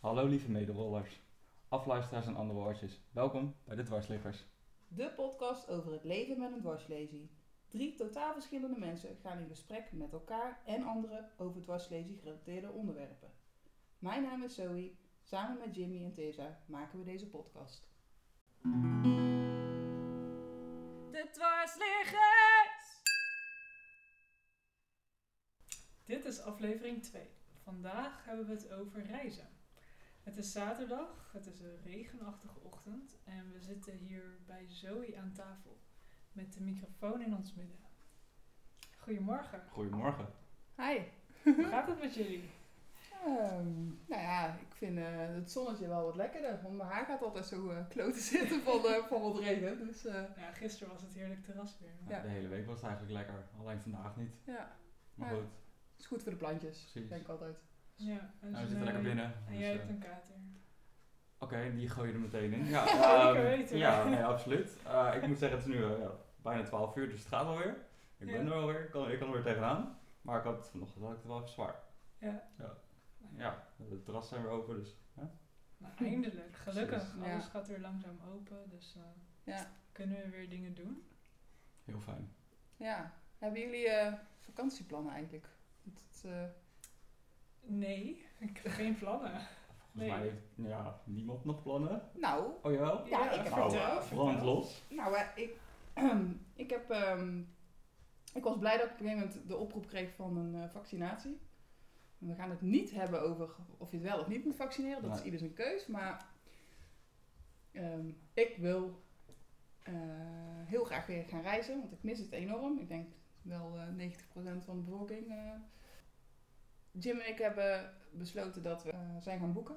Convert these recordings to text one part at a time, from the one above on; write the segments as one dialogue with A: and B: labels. A: Hallo lieve medewollers, afluisteraars en andere woordjes. Welkom bij de Dwarsliggers.
B: De podcast over het leven met een dwarslesie. Drie totaal verschillende mensen gaan in gesprek met elkaar en anderen over dwarslesie gerelateerde onderwerpen. Mijn naam is Zoe. Samen met Jimmy en Tessa maken we deze podcast.
C: De dwarsliggers!
D: Dit is aflevering 2. Vandaag hebben we het over reizen. Het is zaterdag, het is een regenachtige ochtend en we zitten hier bij Zoe aan tafel met de microfoon in ons midden. Goedemorgen,
A: Goedemorgen.
B: Hi.
D: hoe gaat het met jullie?
B: nou ja, ik vind eh, het zonnetje wel wat lekkerder. Want mijn haar gaat altijd zo eh kloten zitten van, eh, van het regen. Dus eh,
D: Nou, gisteren was het heerlijk terras weer.
A: Nou,
B: Ja.
A: De hele week was het eigenlijk lekker, alleen vandaag niet.
B: ja,
A: Maar
B: Ja. dus,
A: goed,
B: het is goed voor de plantjes.
A: Precies.
B: Denk ik altijd.
D: Ja, en
A: nou, we
D: ze-
A: zitten lekker binnen.
D: En
A: dus,
D: jij
A: eh,
D: hebt een kater.
A: Oké, die gooi je er meteen in. Ja,
D: Zeker
A: ehm,
D: weten.
A: ja nee, absoluut. Eh, ik moet zeggen, het is nu eh, ja, bijna 12 uur, dus het gaat alweer. Ik ben
D: Ja.
A: er alweer, ik kan, ik kan er weer tegenaan. Maar ik had vanochtend had ik het wel even zwaar.
D: Ja.
A: Ja, de terrassen zijn weer open, dus
D: Nou, eindelijk, gelukkig.
B: Ja.
D: Alles gaat weer langzaam open, dus eh,
B: Ja.
D: kunnen we weer dingen doen.
A: heel fijn.
B: Ja, hebben jullie eh, vakantieplannen eigenlijk? Want het, eh,
D: Nee, ik heb geen plannen.
A: Volgens
D: Nee.
A: mij heeft ja, niemand nog plannen.
B: nou,
A: Oh jawel?
B: Ja, ik heb
A: Nou,
B: vertel,
A: eh, brand los.
B: nou eh, ik, ik, heb, ehm, ik was blij dat ik op een gegeven moment de oproep kreeg van een eh, vaccinatie. We gaan het niet hebben over of je het wel of niet moet vaccineren. Dat is
A: Nee.
B: ieder zijn keus. Maar ehm, ik wil eh, heel graag weer gaan reizen. Want ik mis het enorm. Ik denk wel eh 90% van de bevolking. eh. Jim en ik hebben besloten dat we eh, zijn gaan boeken.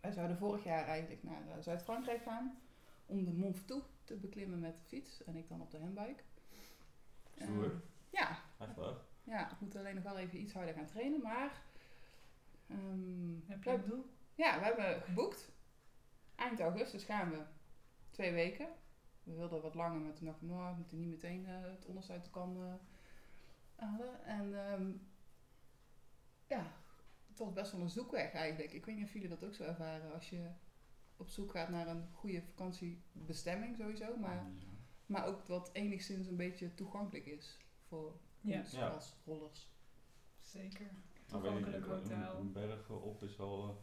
B: Wij zouden vorig jaar eigenlijk naar eh, Zuid-Frankrijk gaan. Om de Mont Ventoux te beklimmen met de fiets. En ik dan op de handbike.
A: Stoer.
B: Eh, ja,
A: Echt wel.
B: ja, ik moet alleen nog wel even iets harder gaan trainen, maar... ehm,
D: Heb je
B: wij-
D: een doel?
B: ja, we hebben geboekt. Eind augustus gaan we. Twee weken. We wilden wat langer, maar toen dacht ik, nou, we moeten niet meteen eh, het onderste uit de kan eh, halen. En ehm, ja, het was best wel een zoekweg eigenlijk. Ik weet niet of jullie dat ook zo ervaren als je op zoek gaat naar een goede vakantiebestemming sowieso, maar, maar ook wat enigszins een beetje toegankelijk is voor
D: Ja,
B: ons
A: Ja.
B: als rollers.
D: zeker.
A: Nou, weet ik,
D: Toegankelijk
A: een- een-
D: hotel.
A: Een berg op is wel... eh,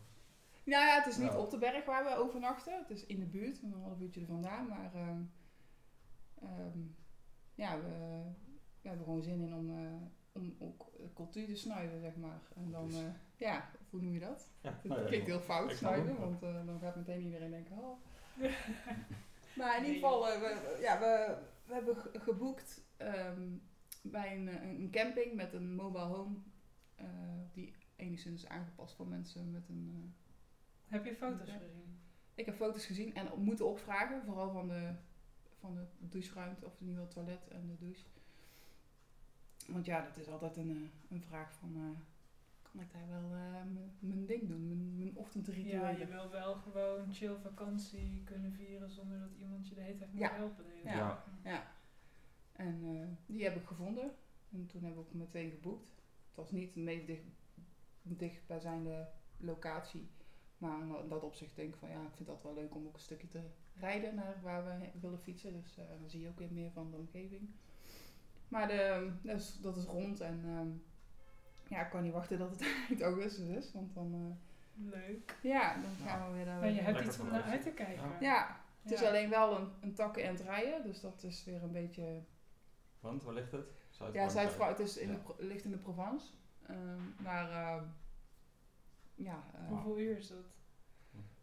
B: Nou ja, het is niet
A: Ja.
B: op de berg waar we overnachten. Het is in de buurt, een half uurtje er vandaan. Maar ehm, ehm, ja, we, we hebben gewoon zin in om, eh, om ook eh, cultuur te snuiven, zeg maar. En dan,
A: Dus-
B: eh, ja, of hoe noem je dat?
A: ja,
B: Het
A: nou ja,
B: klinkt heel fout,
A: ik snap het.
B: snuiven, want eh, dan gaat meteen iedereen denken, oh. maar in ieder geval, eh, we, ja, we, we hebben ge- geboekt ehm, bij een, eh, een camping met een mobile home. eh, die enigszins is aangepast voor mensen met een... eh,
D: Heb je foto's
B: Ja.
D: gezien?
B: ik heb foto's gezien en op- moeten opvragen, vooral van de, van de doucheruimte, of in ieder geval het toilet en de douche. Want ja, dat is altijd een, eh, een vraag van, eh, kan ik daar wel eh, mijn- mijn ding doen, mijn, mijn ochtendritueel?
D: Ja, je wil wel gewoon chill vakantie kunnen vieren zonder dat iemand je de hele tijd moet
B: Ja.
D: helpen. de hele
B: Ja.
D: tijd.
A: Ja.
B: En eh, die heb ik gevonden. En toen heb ik ook meteen geboekt. Het was niet de meest dicht, dichtbijzijnde locatie. Maar in dat opzicht denk ik van ja, ik vind dat wel leuk om ook een stukje te rijden naar waar we he- willen fietsen. Dus eh, dan zie je ook weer meer van de omgeving. Maar de, dat, is, dat is rond en ehm, ja, ik kan niet wachten dat het eind augustus is. Want dan, eh,
D: Leuk.
B: ja, dan gaan we weer... eh,
D: Maar je hebt
A: Lekker
D: iets om naar
A: vakantie.
D: uit te kijken.
A: Ja.
B: ja, het is
D: Ja.
B: alleen wel een, een takken en het rijden. Dus dat is weer een beetje
A: Want, waar ligt het?
B: Ja,
A: Zuid-Frankrijk.
B: Zuid-Frankrijk. Het is in
A: Ja.
B: de Pro- ligt in de Provence. Ehm, maar ehm, ja, eh,
D: Hoeveel uur is dat?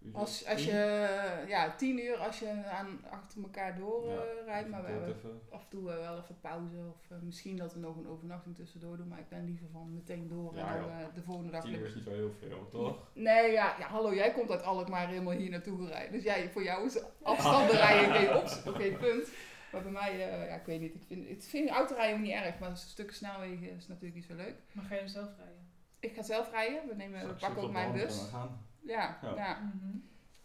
A: Uur
B: als, als
A: tien.
B: je ja, tien uur als je aan, achter elkaar door
A: Ja,
B: eh, rijdt.
A: even
B: Maar we
A: tot
B: hebben
A: even.
B: af en toe eh, wel even pauze. Of eh, misschien dat we nog een overnachting tussendoor doen. Maar ik ben liever van meteen door
A: Ja,
B: en dan
A: joh.
B: eh, de volgende dag.
A: Tien uur is niet zo heel veel, toch?
B: Nee, ja, ja, hallo, jij komt uit Alkmaar helemaal hier naartoe gereden. Dus jij, voor jou is afstanden rijden geen, ops- geen punt. Maar bij mij, eh, ja, ik weet niet. Ik vind, ik vind autorijden ook niet erg, maar stukken snelwegen is natuurlijk niet zo leuk.
D: Maar ga je zelf rijden?
B: Ik ga zelf rijden. We, nemen, we
A: Straks
B: pakken
A: zitten we
B: ook mijn
A: op de
B: bus.
A: hand en we gaan.
B: Ja,
A: Ja.
B: ja.
D: Mhm.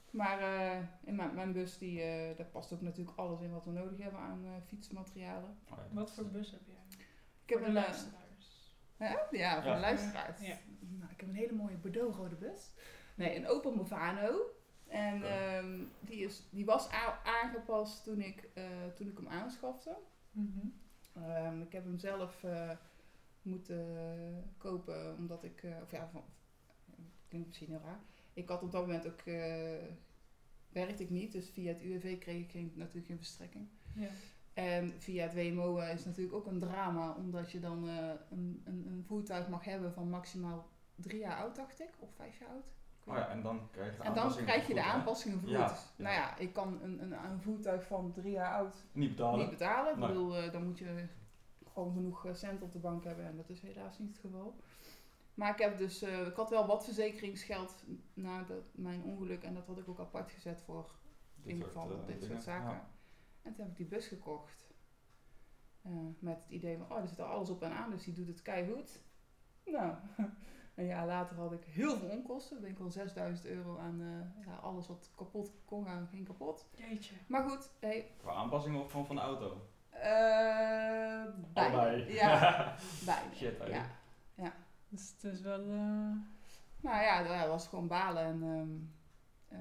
B: maar eh, in mijn, mijn bus die, eh, daar past ook natuurlijk alles in wat we nodig hebben aan eh, fietsmaterialen.
A: Oh ja,
D: Wat voor bus heb jij?
B: Ik heb
D: voor de
B: een, eh,
D: luisteraars.
B: hè? ja, voor
A: Ja.
B: de luisteraars.
D: Ja.
B: Nou, ik heb een hele mooie bordeauxrode bus. Nee, een Opel Movano. En
A: Oké.
B: ehm, die, is, die was a- aangepast toen ik, eh, toen ik hem aanschafte.
D: Mhm.
B: Ehm, ik heb hem zelf eh, moeten kopen omdat ik, eh, of ja, van, klinkt misschien heel raar. Ik had op dat moment ook, eh, werkte ik niet, dus via het UWV kreeg ik geen, natuurlijk geen verstrekking.
D: Ja.
B: En via het WMO eh, is natuurlijk ook een drama, omdat je dan eh, een, een, een voertuig mag hebben van maximaal drie jaar oud, dacht ik, of vijf jaar oud. Ik
A: Oh ja, en dan krijg je de
B: en dan
A: aanpassing
B: krijg je de
A: goed, hè?
B: aanpassingen vergoed.
A: Ja, ja.
B: Nou ja, ik kan een, een, een voertuig van drie jaar oud
A: Niet betalen.
B: niet betalen. Ik
A: Nee.
B: bedoel, eh, dan moet je gewoon genoeg eh, cent op de bank hebben. En dat is helaas niet het geval. Maar ik, heb dus, eh, ik had wel wat verzekeringsgeld na dat, mijn ongeluk. En dat had ik ook apart gezet voor in
A: soort,
B: geval
A: eh,
B: dit soort
A: dingen.
B: zaken.
A: Ja.
B: En toen heb ik die bus gekocht. Eh, met het idee van, oh, er zit al alles op en aan, dus die doet het keigoed. Nou, een jaar later had ik heel veel onkosten. Ik denk wel 6000 euro aan eh, ja, alles wat kapot kon gaan, ging kapot.
D: Jeetje.
B: Maar goed, hey,
A: Qua aanpassingen of gewoon van de auto?
B: eh bijna.
A: Allebei.
B: Ja, bijna.
A: Shit, hey.
B: ja.
D: Dus het is wel... eh,
B: Nou ja, dat ja, was gewoon balen. En, ehm,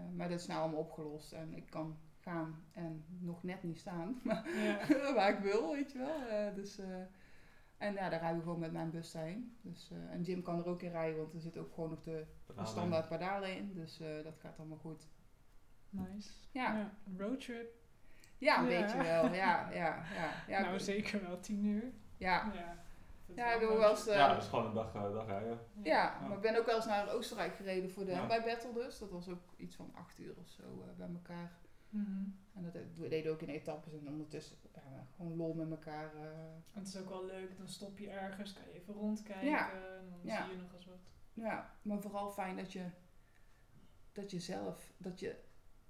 B: eh, maar dat is nou allemaal opgelost. En ik kan gaan en nog net niet staan.
D: ja.
B: waar ik wil, weet je wel. Eh, dus, eh, en ja, daar rijden we gewoon met mijn bus daarheen. Dus, eh, en Jim kan er ook in rijden, want er zit ook gewoon nog de, de
A: Betalen.
B: standaard pedalen in. Dus eh, dat gaat allemaal goed.
D: Nice.
B: Ja,
D: een Roadtrip.
B: ja een
D: Ja.
B: beetje wel. Ja, ja, ja. ja
D: nou,
B: ik-
D: zeker wel tien uur.
B: Ja,
D: Ja. Dat
B: ja
D: is
B: ik
D: wel
B: ben wel eens... eh,
A: ja, dat is gewoon een dag, eh, dag rijden.
D: een-
B: ja,
A: Ja.
B: maar ik ben ook wel eens naar Oostenrijk gereden voor de
A: Ja.
B: handbike battle dus. Dat was ook iets van acht uur of zo eh, bij elkaar.
D: Mhm.
B: En dat deden we deden ook in etappes en ondertussen ja, gewoon lol met elkaar. eh,
D: En het is ook wel leuk, dan stop je ergens, kan je even rondkijken.
B: Ja.
D: En dan
B: Ja.
D: zie je nog eens wat.
B: Ja, maar vooral fijn dat je, dat je, zelf, dat je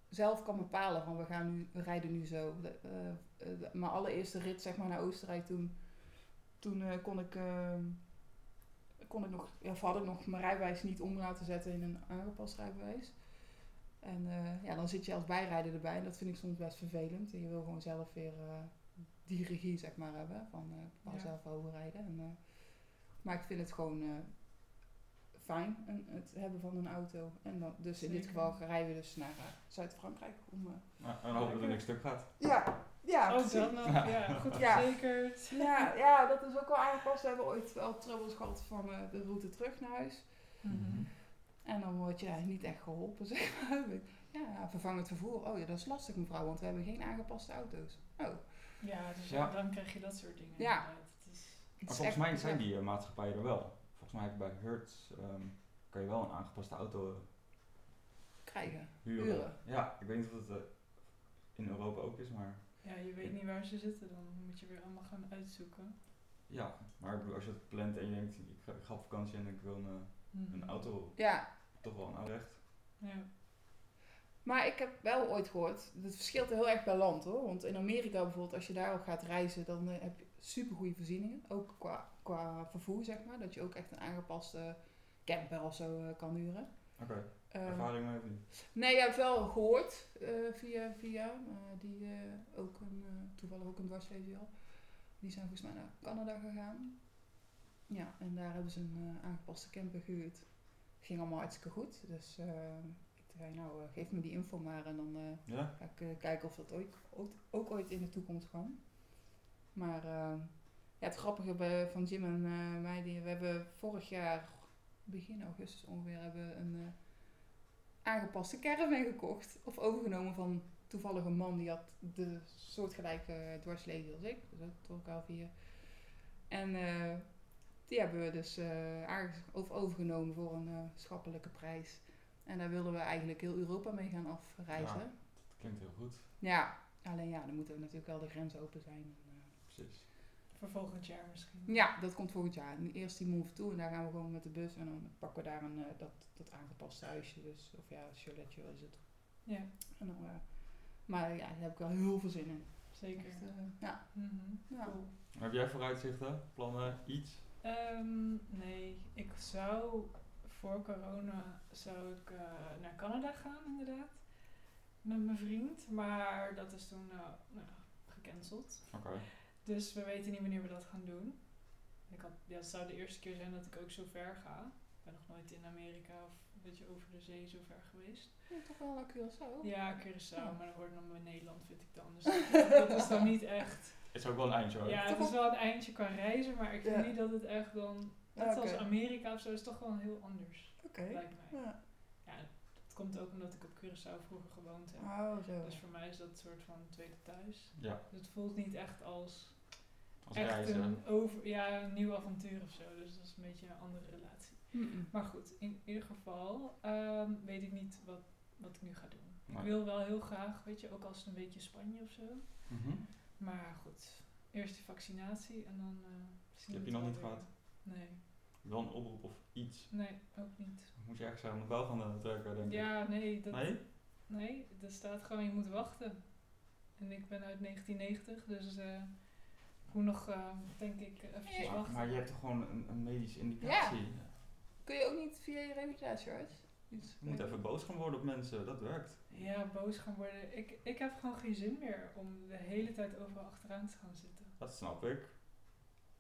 B: zelf kan bepalen van we, gaan nu, we rijden nu zo. De, eh, eh, de- mijn allereerste rit zeg maar, naar Oostenrijk toen, toen eh, kon ik... eh, kon ik nog, ja, of had ik nog mijn rijbewijs niet om laten zetten in een aangepast rijbewijs. En eh, ja, dan zit je als bijrijder erbij. En dat vind ik soms best vervelend. En je wil gewoon zelf weer eh, die regie, zeg maar, hebben. Van eh, ik kan
D: Ja.
B: zelf wel rijden. En, eh, maar ik vind het gewoon eh, fijn, een, het hebben van een auto. En dan, dus in dit
D: Zeker.
B: geval rijden we dus naar eh, Zuid-Frankrijk. om. eh,
A: Ja, en dan hopen dat er niks stuk gaat.
B: ja, ja.
D: oh, dat nog. Ja, goed
B: Ja.
D: verzekerd.
B: Ja, ja, dat is ook wel aangepast. We hebben ooit wel troubles gehad van eh, de route terug naar huis.
D: Mhm.
A: Mhm.
B: Mhm. En dan word je niet echt geholpen, zeg maar. Ja, vervangend vervoer. Oh ja, dat is lastig mevrouw, want we hebben geen aangepaste auto's. Oh, het
D: Ja, dus
A: Ja.
D: dan krijg je dat soort dingen.
B: Ja.
D: inderdaad. Het is,
B: is
A: Maar
B: echt
A: volgens mij
B: bizar.
A: zijn die eh, maatschappijen er wel. Volgens mij bij Hertz ehm, kan je wel een aangepaste auto eh,
B: Krijgen.
A: huren.
B: Huren.
A: Ja, ik weet niet of het eh, in Europa ook is, maar
D: ja, je weet niet waar ze zitten, dan moet je weer allemaal gaan uitzoeken.
A: ja. Maar ik bedoel, als je het plant en je denkt, ik ga, ik ga op vakantie en ik wil een, eh,
D: Mhm.
A: een auto,
B: Ja,
A: toch wel een auto recht.
D: Ja.
B: maar ik heb wel ooit gehoord, het verschilt heel erg per land hoor. Want in Amerika bijvoorbeeld, als je daar al gaat reizen, dan eh, heb je supergoeie voorzieningen. Ook qua, qua vervoer, zeg maar. Dat je ook echt een aangepaste camper of zo eh, kan huren.
A: Oké,
B: Ehm,
A: ervaring mee of niet?
B: Nee, ja, wel gehoord eh, via, via eh, die eh, ook een, eh, toevallig ook een dwarslezer had. Die zijn volgens mij naar Canada gegaan. Ja, en daar hebben ze een eh, aangepaste camper gehuurd. Ging allemaal hartstikke goed. Dus eh, ik zei, nou, eh, geef me die info maar en dan eh,
A: Ja?
B: ga ik eh, kijken of dat ooit, ooit- ook ooit in de toekomst kwam. Maar eh, ja, het grappige bij, van Jim en eh, mij, die, we hebben vorig jaar, begin augustus ongeveer, hebben we een eh, aangepaste caravan gekocht. Of overgenomen van toevallig een man die had de soortgelijke dwarsleven als ik. Dus dat door elkaar vier. En eh, die hebben we dus eh, aange- of overgenomen voor een eh, schappelijke prijs. En daar wilden we eigenlijk heel Europa mee gaan afreizen.
A: Ja. Dat klinkt heel goed.
B: Ja, alleen ja, dan moeten we natuurlijk wel de grens open zijn. En, eh,
A: Precies.
D: Voor volgend jaar misschien.
B: ja, dat komt volgend jaar. En Eerst die Mont toe en daar gaan we gewoon met de bus en dan pakken we daar een, eh, dat, dat aangepaste huisje. Dus, of ja, chaletje is het.
D: Ja,
B: En dan, eh, maar ja, daar heb ik wel heel veel zin in.
D: zeker.
B: Echt, eh, ja,
D: Mhm.
B: ja.
D: Cool.
A: Heb jij vooruitzichten, plannen, iets?
D: Ehm, nee, ik zou voor corona zou ik eh, naar Canada gaan inderdaad. Met mijn vriend. Maar dat is toen eh, nou, gecanceld.
A: Oké.
D: Dus we weten niet wanneer we dat gaan doen. Ik had, ja, het zou de eerste keer zijn dat ik ook zo ver ga. Ik ben nog nooit in Amerika of beetje over de zee zo ver geweest.
B: Ja, toch wel naar Curaçao.
D: Ja, Curaçao,
B: Ja.
D: maar dat hoort nog bij Nederland, vind ik dan. Dus dat, dat is dan niet echt.
A: Is ook wel een eindje hoor.
D: Ja, het is wel een eindje qua reizen, maar ik vind
B: Ja.
D: niet dat het echt dan. Net
B: Ah,
D: zoals
B: oké.
D: Amerika of zo, is toch wel heel anders,
B: Oké.
D: lijkt mij.
B: Ja.
D: Ja, dat komt ook omdat ik op Curaçao vroeger gewoond heb.
B: Oh, zo.
D: Dus voor mij is dat een soort van tweede thuis.
A: Ja.
D: Dus het voelt niet echt als,
A: Als
D: echt
A: reizen.
D: een, over, ja, een nieuw avontuur of zo. Dus dat is een beetje een andere relatie.
B: Mm-mm.
D: Maar goed, in ieder geval ehm, weet ik niet wat, wat ik nu ga doen. Ik
A: Nee.
D: wil wel heel graag, weet je, ook als het een beetje Spanje of zo.
A: Mhm.
D: Maar goed, eerst de vaccinatie en dan eh, zien
A: heb
D: we
A: je nog
D: het wel
A: niet
D: weer.
A: gehad?
D: Nee,
A: Wel een oproep of iets.
D: nee, ook niet.
A: Moet je ergens aan de bel gaan eh, trekken, denk ik.
D: Ja, nee, dat,
A: Nee?
D: Nee, er staat gewoon je moet wachten. En ik ben uit 1990, dus eh hoe nog, eh, denk ik, eventjes
A: Maar,
D: wachten.
A: maar je hebt toch gewoon een, een medische indicatie?
B: Kun je ook niet via je revalidatiearts? Iets-
A: Je moet even boos gaan worden op mensen, dat werkt.
D: Ja, boos gaan worden. Ik, ik heb gewoon geen zin meer om de hele tijd overal achteraan te gaan zitten.
A: Dat snap ik.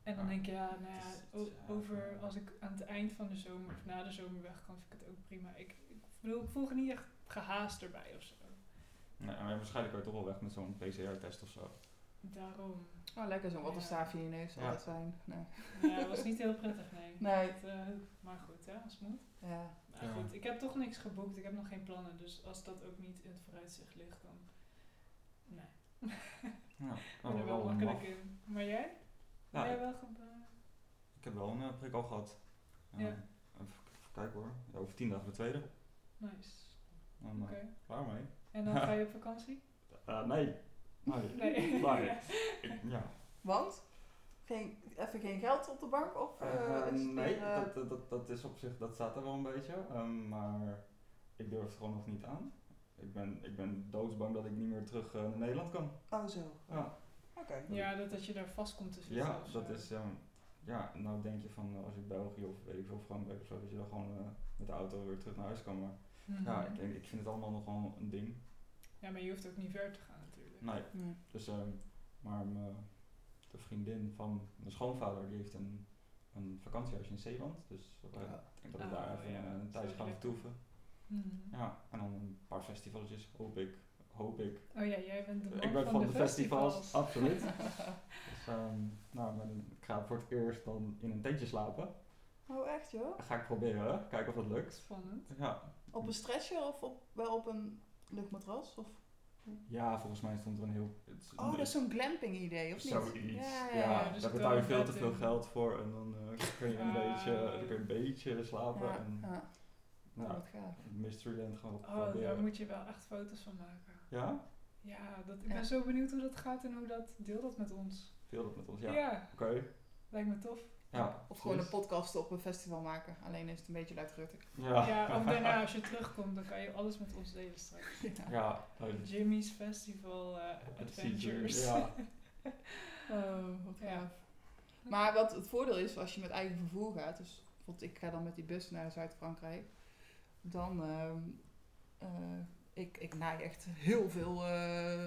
D: En dan
A: Ja.
D: denk ik, ja, nou ja,
A: Het is-
D: o-
A: ja.
D: over als ik aan het eind van de zomer of na de zomer weg kan, vind ik het ook prima. Ik, ik bedoel, ik voel me niet echt gehaast erbij of zo.
A: Nee, maar waarschijnlijk kan je toch wel weg met zo'n PCR-test of zo.
D: Daarom.
B: Oh, lekker zo'n wattenstaafje in je neus.
A: Ja.
B: Altijd fijn. Nee.
D: Ja, het was niet heel prettig, nee.
B: Nee.
D: Het, eh, maar goed, hè, als het moet.
B: Ja.
D: Maar
A: Ja.
D: goed, ik heb toch niks geboekt. Ik heb nog geen plannen. Dus als dat ook niet in het vooruitzicht ligt, dan... Nee,
A: Ja,
D: ik ben er
A: maar
D: wel
A: Oh, een
D: makkelijk
A: Oh, maf.
D: in. Maar jij?
A: Ja,
D: ben jij
A: ik-
D: wel geboekt?
A: Ik heb wel een eh, prik al gehad. Eh,
D: Ja.
A: Even even kijken hoor. Ja, over tien dagen de tweede.
D: Nice.
A: Dan, eh,
D: Oké.
A: Klaar mee?
D: En dan ga je op vakantie?
A: Eh, nee. Nee.
D: Nee.
A: Nee. Ik- ja.
B: Want? Geen, even geen geld op de bank? Of, eh,
A: Eh,
B: is het
A: nee,
B: weer, eh,
A: dat, dat- dat, dat is op zich, dat staat er wel een beetje. ehm, maar ik durf het gewoon nog niet aan. Ik ben, ik ben doodsbang dat ik niet meer terug eh, naar Nederland kan.
B: Oh, zo.
A: Ja,
B: Oké.
D: Ja, dat, dat je daar vast komt te zitten.
A: ja
D: of zo.
A: dat is. ehm, ja, nou denk je van eh, als ik België of weet ik veel Frankrijk of zo, dat je dan gewoon eh, met de auto weer terug naar huis kan. Maar
D: Mhm.
A: ja, ik, ik vind het allemaal nog wel een ding.
D: Ja, maar je hoeft ook niet ver te gaan natuurlijk.
A: Nee,
B: Nee.
A: Dus, ehm, maar mijn- de vriendin van mijn schoonvader die heeft een, een vakantiehuis in Zeeland. Dus we
B: Ja.
A: ik denk dat we
D: Oh,
A: daar even
D: ja,
A: eh, een
D: dat
A: tijdje
D: is
A: gaan
D: lekker.
A: vertoeven.
D: Mhm.
A: Ja, en dan een paar festivaletjes, hoop ik. Hoop ik.
D: Oh ja, jij bent de man
A: ik ben
D: van,
A: van
D: de, festivals.
A: absoluut. dus, ehm, nou, maar dan- ik ga voor het eerst dan in een tentje slapen.
B: Oh, echt joh?
A: Dat ga ik proberen, hè. kijken of dat lukt.
D: Spannend.
A: Ja.
B: Op een stretcher of op, wel op een luchtmatras? Of?
A: ja, volgens mij stond er een heel... het is-
B: Oh, dat is zo'n glamping idee, of niet?
A: Zoiets. Ja,
D: ja.
A: daar
D: Dus het
A: betaal je
D: kan
A: veel
D: wel
A: te
D: vet
A: veel
D: in.
A: geld voor en dan eh, kun je een,
D: Ah.
A: beetje, dan kun je een beetje slapen.
B: Ja,
A: en,
B: ja. Oh,
A: nou,
B: wat gaaf.
A: Mysteryland gewoon
D: Oh, daar
A: proberen.
D: moet je wel echt foto's van maken.
A: Ja?
D: Ja, dat, ik
B: Ja.
D: ben zo benieuwd hoe dat gaat en hoe dat... Deel dat met ons.
A: Veel dat met ons, ja.
D: Ja,
A: Oké.
D: lijkt me tof.
A: Ja.
B: Of gewoon een
A: precies.
B: podcast op een festival maken. Alleen is het een beetje luidruchtig.
A: Ja.
D: Ja, of daarna als je terugkomt, dan kan je alles met ons delen straks.
B: Ja.
A: Oh, Ja. nou, leuk.
D: Jimmy's Festival eh, Adventures.
A: Ja.
B: Oh, wat
D: Ja.
B: gaaf. Maar wat het voordeel is, als je met eigen vervoer gaat, dus bijvoorbeeld ik ga dan met die bus naar Zuid-Frankrijk, dan ehm, eh, ik, ik naai echt heel veel eh,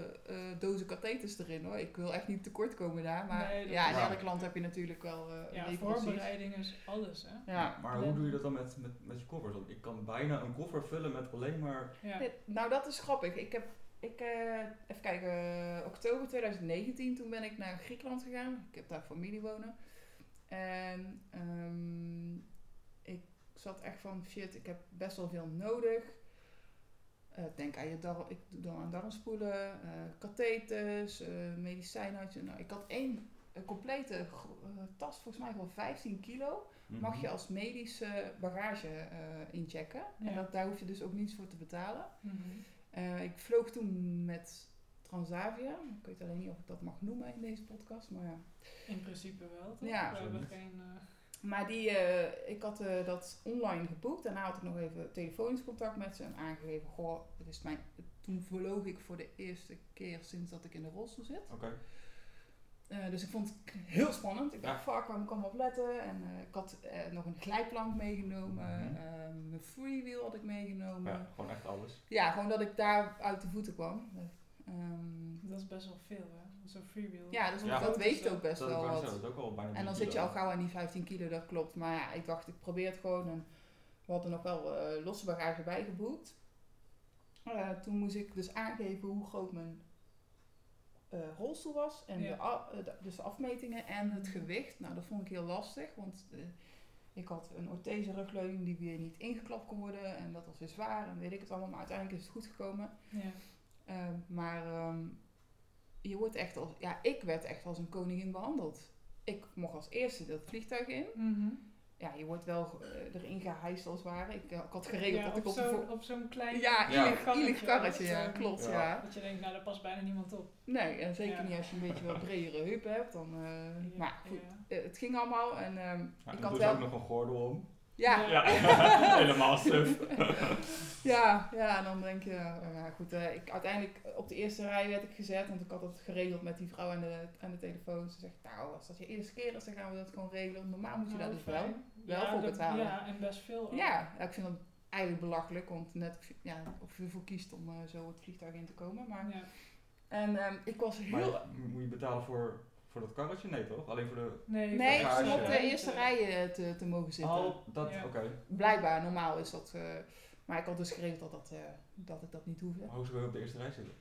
B: eh, dozen katheters erin hoor. Ik wil echt niet tekort komen daar, maar
D: Nee, dat
B: ja, in
A: is- Ja.
B: elk land heb je natuurlijk wel eh
D: Ja,
B: leveranciers.
D: voorbereiding is alles, hè?
B: Ja.
A: Maar hoe doe je dat dan met, met, met je koffers? Want ik kan bijna een koffer vullen met alleen maar...
D: Ja.
B: Dit- nou, dat is grappig. Ik heb, ik, eh, even kijken, eh, oktober 2019, toen ben ik naar Griekenland gegaan. Ik heb daar familie wonen. En ehm, ik zat echt van, shit, ik heb best wel veel nodig. Eh, denk aan je darm, ik doe dan aan darmspoelen, eh katheters, eh medicijnhuisje. Nou, ik had één eh, complete gro- eh, tas, volgens mij van 15 kilo
A: Mhm.
D: Mhm.
B: mag je als medische bagage eh, inchecken.
D: Ja.
B: En dat, daar hoef je dus ook niets voor te betalen.
D: Mhm.
B: Eh, ik vloog toen met Transavia. Ik weet alleen niet of ik dat mag noemen in deze podcast, maar ja.
D: In principe wel, toch?
B: Ja.
D: We
A: Zo
D: hebben
A: niet.
D: geen... eh,
B: Maar die, eh, ik had eh, dat online geboekt. Daarna had ik nog even telefonisch contact met ze en aangegeven, goh, dit is mijn... Toen vloog ik voor de eerste keer sinds dat ik in de rolstoel zit.
A: Oké.
B: Eh, dus ik vond het k- heel spannend. Ik dacht, fuck, waarom kan ik op letten? En eh, ik had eh, nog een glijplank meegenomen.
A: Mhm.
B: eh, mijn freewheel had ik meegenomen.
A: Ja,
B: Ja.
A: gewoon echt alles.
B: gewoon dat ik daar uit de voeten kwam. Ehm,
D: Dat is best wel veel, hè? Zo'n freewheel.
B: ja, dus
A: Ja.
B: dat weegt ook best
A: dat,
B: wel
A: ik wou
B: wat.
A: zeggen, dat is ook al bijna
B: En dan
A: drie
B: zit je al
A: kilo.
B: gauw aan die 15 kilo, dat klopt. Maar ja, ik dacht, ik probeer het gewoon. En We hadden nog wel eh, losse bagage bijgeboekt. Eh, toen moest ik dus aangeven hoe groot mijn eh, rolstoel was. En
D: Ja.
B: de, a- eh, de- dus de afmetingen en het gewicht. Nou, dat vond ik heel lastig. Want eh, ik had een orthese rugleuning die weer niet ingeklapt kon worden. En dat was weer zwaar en weet ik het allemaal. Maar uiteindelijk is het goed gekomen.
D: Ja.
B: Eh, maar ehm, je wordt echt als... Ja, ik werd echt als een koningin behandeld. Ik mocht als eerste dat vliegtuig in
D: Mhm.
B: ja, je wordt wel eh, erin gehijst als het ware. Ik, eh, ik had geregeld
D: Ja,
B: dat ik
D: op
B: op de
D: zo'n
B: voor...
D: op zo'n klein...
B: Ja,
A: Ja.
B: ielig, ielig karretje,
D: dat,
B: ja,
D: eh,
B: klopt, ja.
A: Ja.
D: Dat je denkt, nou daar past bijna niemand op.
B: Nee, en zeker
D: Ja.
B: niet als je een beetje wat bredere heup hebt, dan... eh,
D: Ja,
B: Maar goed,
D: ja.
B: eh, het ging allemaal en ehm,
A: Ja,
B: ik
A: ik
B: had
A: had
B: wel...
A: ook nog een gordel om.
B: Ja,
D: Ja.
A: Ja, helemaal suf.
B: Ja, ja, en dan denk je, eh, ja goed, eh, ik, uiteindelijk eh, op de eerste rij werd ik gezet, want ik had het geregeld met die vrouw aan de, aan de telefoon. Ze zegt, nou, als dat je eerste keer is, dan gaan we dat gewoon regelen. Normaal moet je dat
D: Nou,
B: dus wel.
D: fijn.
B: wel
D: Ja,
B: voor
D: dat-
B: betalen.
D: Ja, en best veel. ook.
B: Ja, ja, ik vind dat eigenlijk belachelijk, want net ja, of je ervoor kiest om eh, zo het vliegtuig in te komen. Maar,
D: Ja.
B: en ehm, ik was heel...
A: Maar je- moet je betalen voor, voor dat karretje? Nee toch? Alleen voor de...
D: Nee,
B: Nee,
A: Bagage.
B: om op de
A: Ja.
B: eerste rijen eh, te, te mogen zitten.
A: Oh, dat,
D: Ja.
A: oké.
B: Blijkbaar, normaal is dat. eh, maar ik had dus geregeld dat, dat, eh, dat ik dat niet hoefde.
A: Maar hoe zou je op de eerste rij zitten?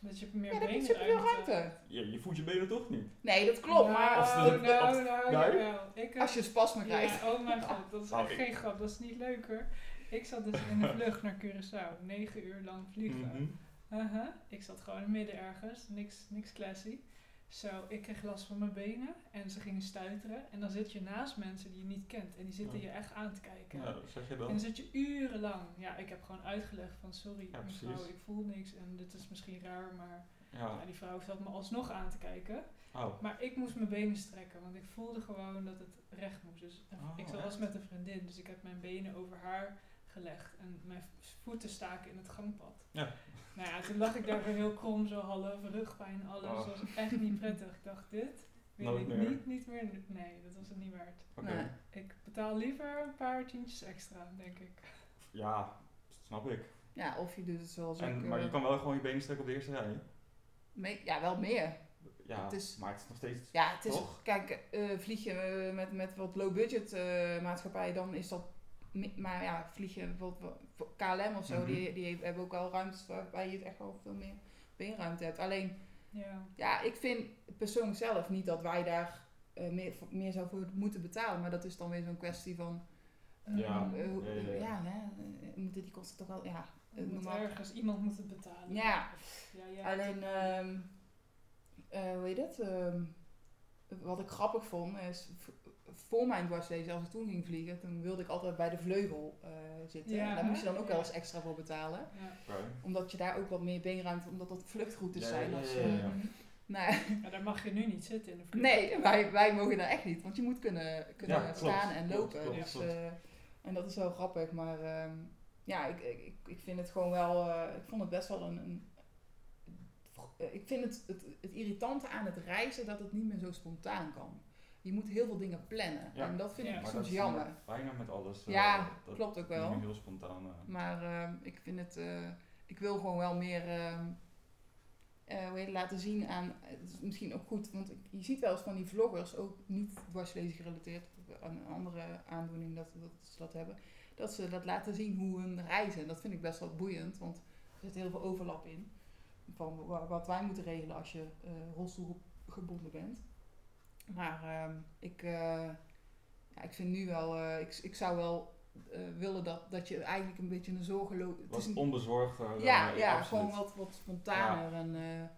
D: Dat je meer
B: Ja, dat
D: benen
B: is superveel
D: eruit, eh,
B: ruimte.
A: Je, je voelt je benen toch niet?
B: Nee, dat klopt,
D: Nou,
B: maar eh, als,
A: Als
D: Nou,
A: de-
D: nou,
A: als- nou?
D: jawel. Ik, eh,
B: als je spasme krijgt.
D: Ja, oh mijn god, dat is
A: Nou,
D: echt
A: ik-
D: geen grap, dat is niet leuk hoor. Ik zat dus in de vlucht naar Curaçao, negen uur lang vliegen.
A: Mhm.
D: Aha, Ik zat gewoon midden ergens, niks, niks classy. Zo, ik kreeg last van mijn benen en ze gingen stuiteren. En dan zit je naast mensen die je niet kent en die zitten
B: Oh.
A: Ja.
D: je echt aan te kijken.
A: Ja, dat zeg je
D: En dan
A: dan.
D: zit je urenlang. Ja, ik heb gewoon uitgelegd van sorry
A: Ja,
D: mevrouw,
A: precies. Ah.
D: ik voel niks en dit is misschien raar, maar
A: Ja.
D: ja, die vrouw zat me alsnog aan te kijken.
A: Oh.
D: Maar ik moest mijn benen strekken, want ik voelde gewoon dat het recht moest. Dus een-
A: Oh,
D: ik was
A: echt?
D: met een vriendin, dus ik heb mijn benen over haar gelegd en mijn v- voeten staken in het gangpad.
A: Ja.
D: Nou ja, toen lag ik daar weer heel krom, zo half, rugpijn, alles.
A: Oh.
D: Dat was echt niet prettig. Ik dacht, dit wil
A: Nooit
D: ik
A: meer.
D: niet, niet meer. doen. Nee, dat was het niet waard.
A: Oké.
B: Nee.
D: Ik betaal liever een paar tientjes extra, denk ik.
A: Ja, snap ik.
B: Ja, of je doet het zoals ik.
A: En, maar
B: eh,
A: je kan wel gewoon je benen strekken op de eerste rij.
B: mee- ja, wel meer.
A: Ja,
B: Het is-
A: maar het is nog steeds...
B: Ja, het is.
A: Toch?
B: Kijk, eh, vlieg je eh, met, met wat low-budget eh maatschappij, dan is dat. mi- Maar ja, vlieg je bijvoorbeeld voor KLM of zo,
A: Mhm.
B: die, die hebben ook wel ruimtes waarbij je het echt wel veel meer beenruimte hebt. Alleen
D: Ja,
B: Ja, ik vind persoonlijk zelf niet dat wij daar eh, meer, voor- meer zou voor moeten betalen. Maar dat is dan weer zo'n kwestie van...
D: Ehm,
A: Ja.
B: eh, hoe-
A: Ja, ja, ja.
B: ja, hè, eh, moeten die kosten toch wel... Ja,
D: Het moet
B: normaal-
D: ergens, iemand moet het betalen.
B: Ja.
D: Of, ja, ja.
B: alleen... ehm, eh, hoe heet het? Ehm, wat ik grappig vond is... v- Voor mijn dwarslezen, als ik toen ging vliegen, toen wilde ik altijd bij de vleugel eh, zitten.
D: Ja,
B: en daar moest je dan ook
D: ja.
B: wel eens extra voor betalen.
D: Ja.
A: Oké.
B: Omdat je daar ook wat meer beenruimte, omdat dat vluchtroutes
A: Ja, ja,
B: zijn.
A: ja,
B: als,
A: ja,
B: eh,
A: ja.
B: nou,
D: Maar Ehm, daar mag je nu niet zitten in de vlucht.
B: Nee, wij, wij mogen daar echt niet, want je moet kunnen, kunnen
A: Ja, klopt,
B: staan en
A: klopt,
B: lopen.
A: klopt,
B: dus,
A: klopt.
B: eh, en dat is wel grappig, maar ehm, ja, ik, ik, ik- ik vind het gewoon wel, eh, ik vond het best wel een, een- eh, ik vind het, het, het irritante aan het reizen dat het niet meer zo spontaan kan. Je moet heel veel dingen plannen
A: Ja.
B: en dat vind
D: Ja.
B: ik
A: Maar
B: soms
A: dat is
B: jammer.
A: Bijna met alles. eh,
B: Ja,
A: dat
B: Klopt ook
A: is
B: wel.
A: nu heel spontaan. eh.
B: Maar ehm, ik vind het, eh, ik wil gewoon wel meer ehm, eh, hoe heet het, laten zien aan, het is misschien ook goed, want ik- je ziet wel eens van die vloggers, ook niet dwarslezen gerelateerd, of aan een andere aandoening dat, dat ze dat hebben, dat ze dat laten zien hoe hun reizen. En dat vind ik best wel boeiend, want er zit heel veel overlap in van wa- wat wij moeten regelen als je eh rolstoelgebonden bent. Maar ehm, ik, eh, ja, ik vind nu wel, eh, ik, ik zou wel eh, willen dat, dat je eigenlijk een beetje een zorgeloos... het is
A: Wat
B: een-
A: onbezorgder.
B: ja,
A: eh,
B: ja
A: absoluut.
B: gewoon wat, wat spontaner. En, eh,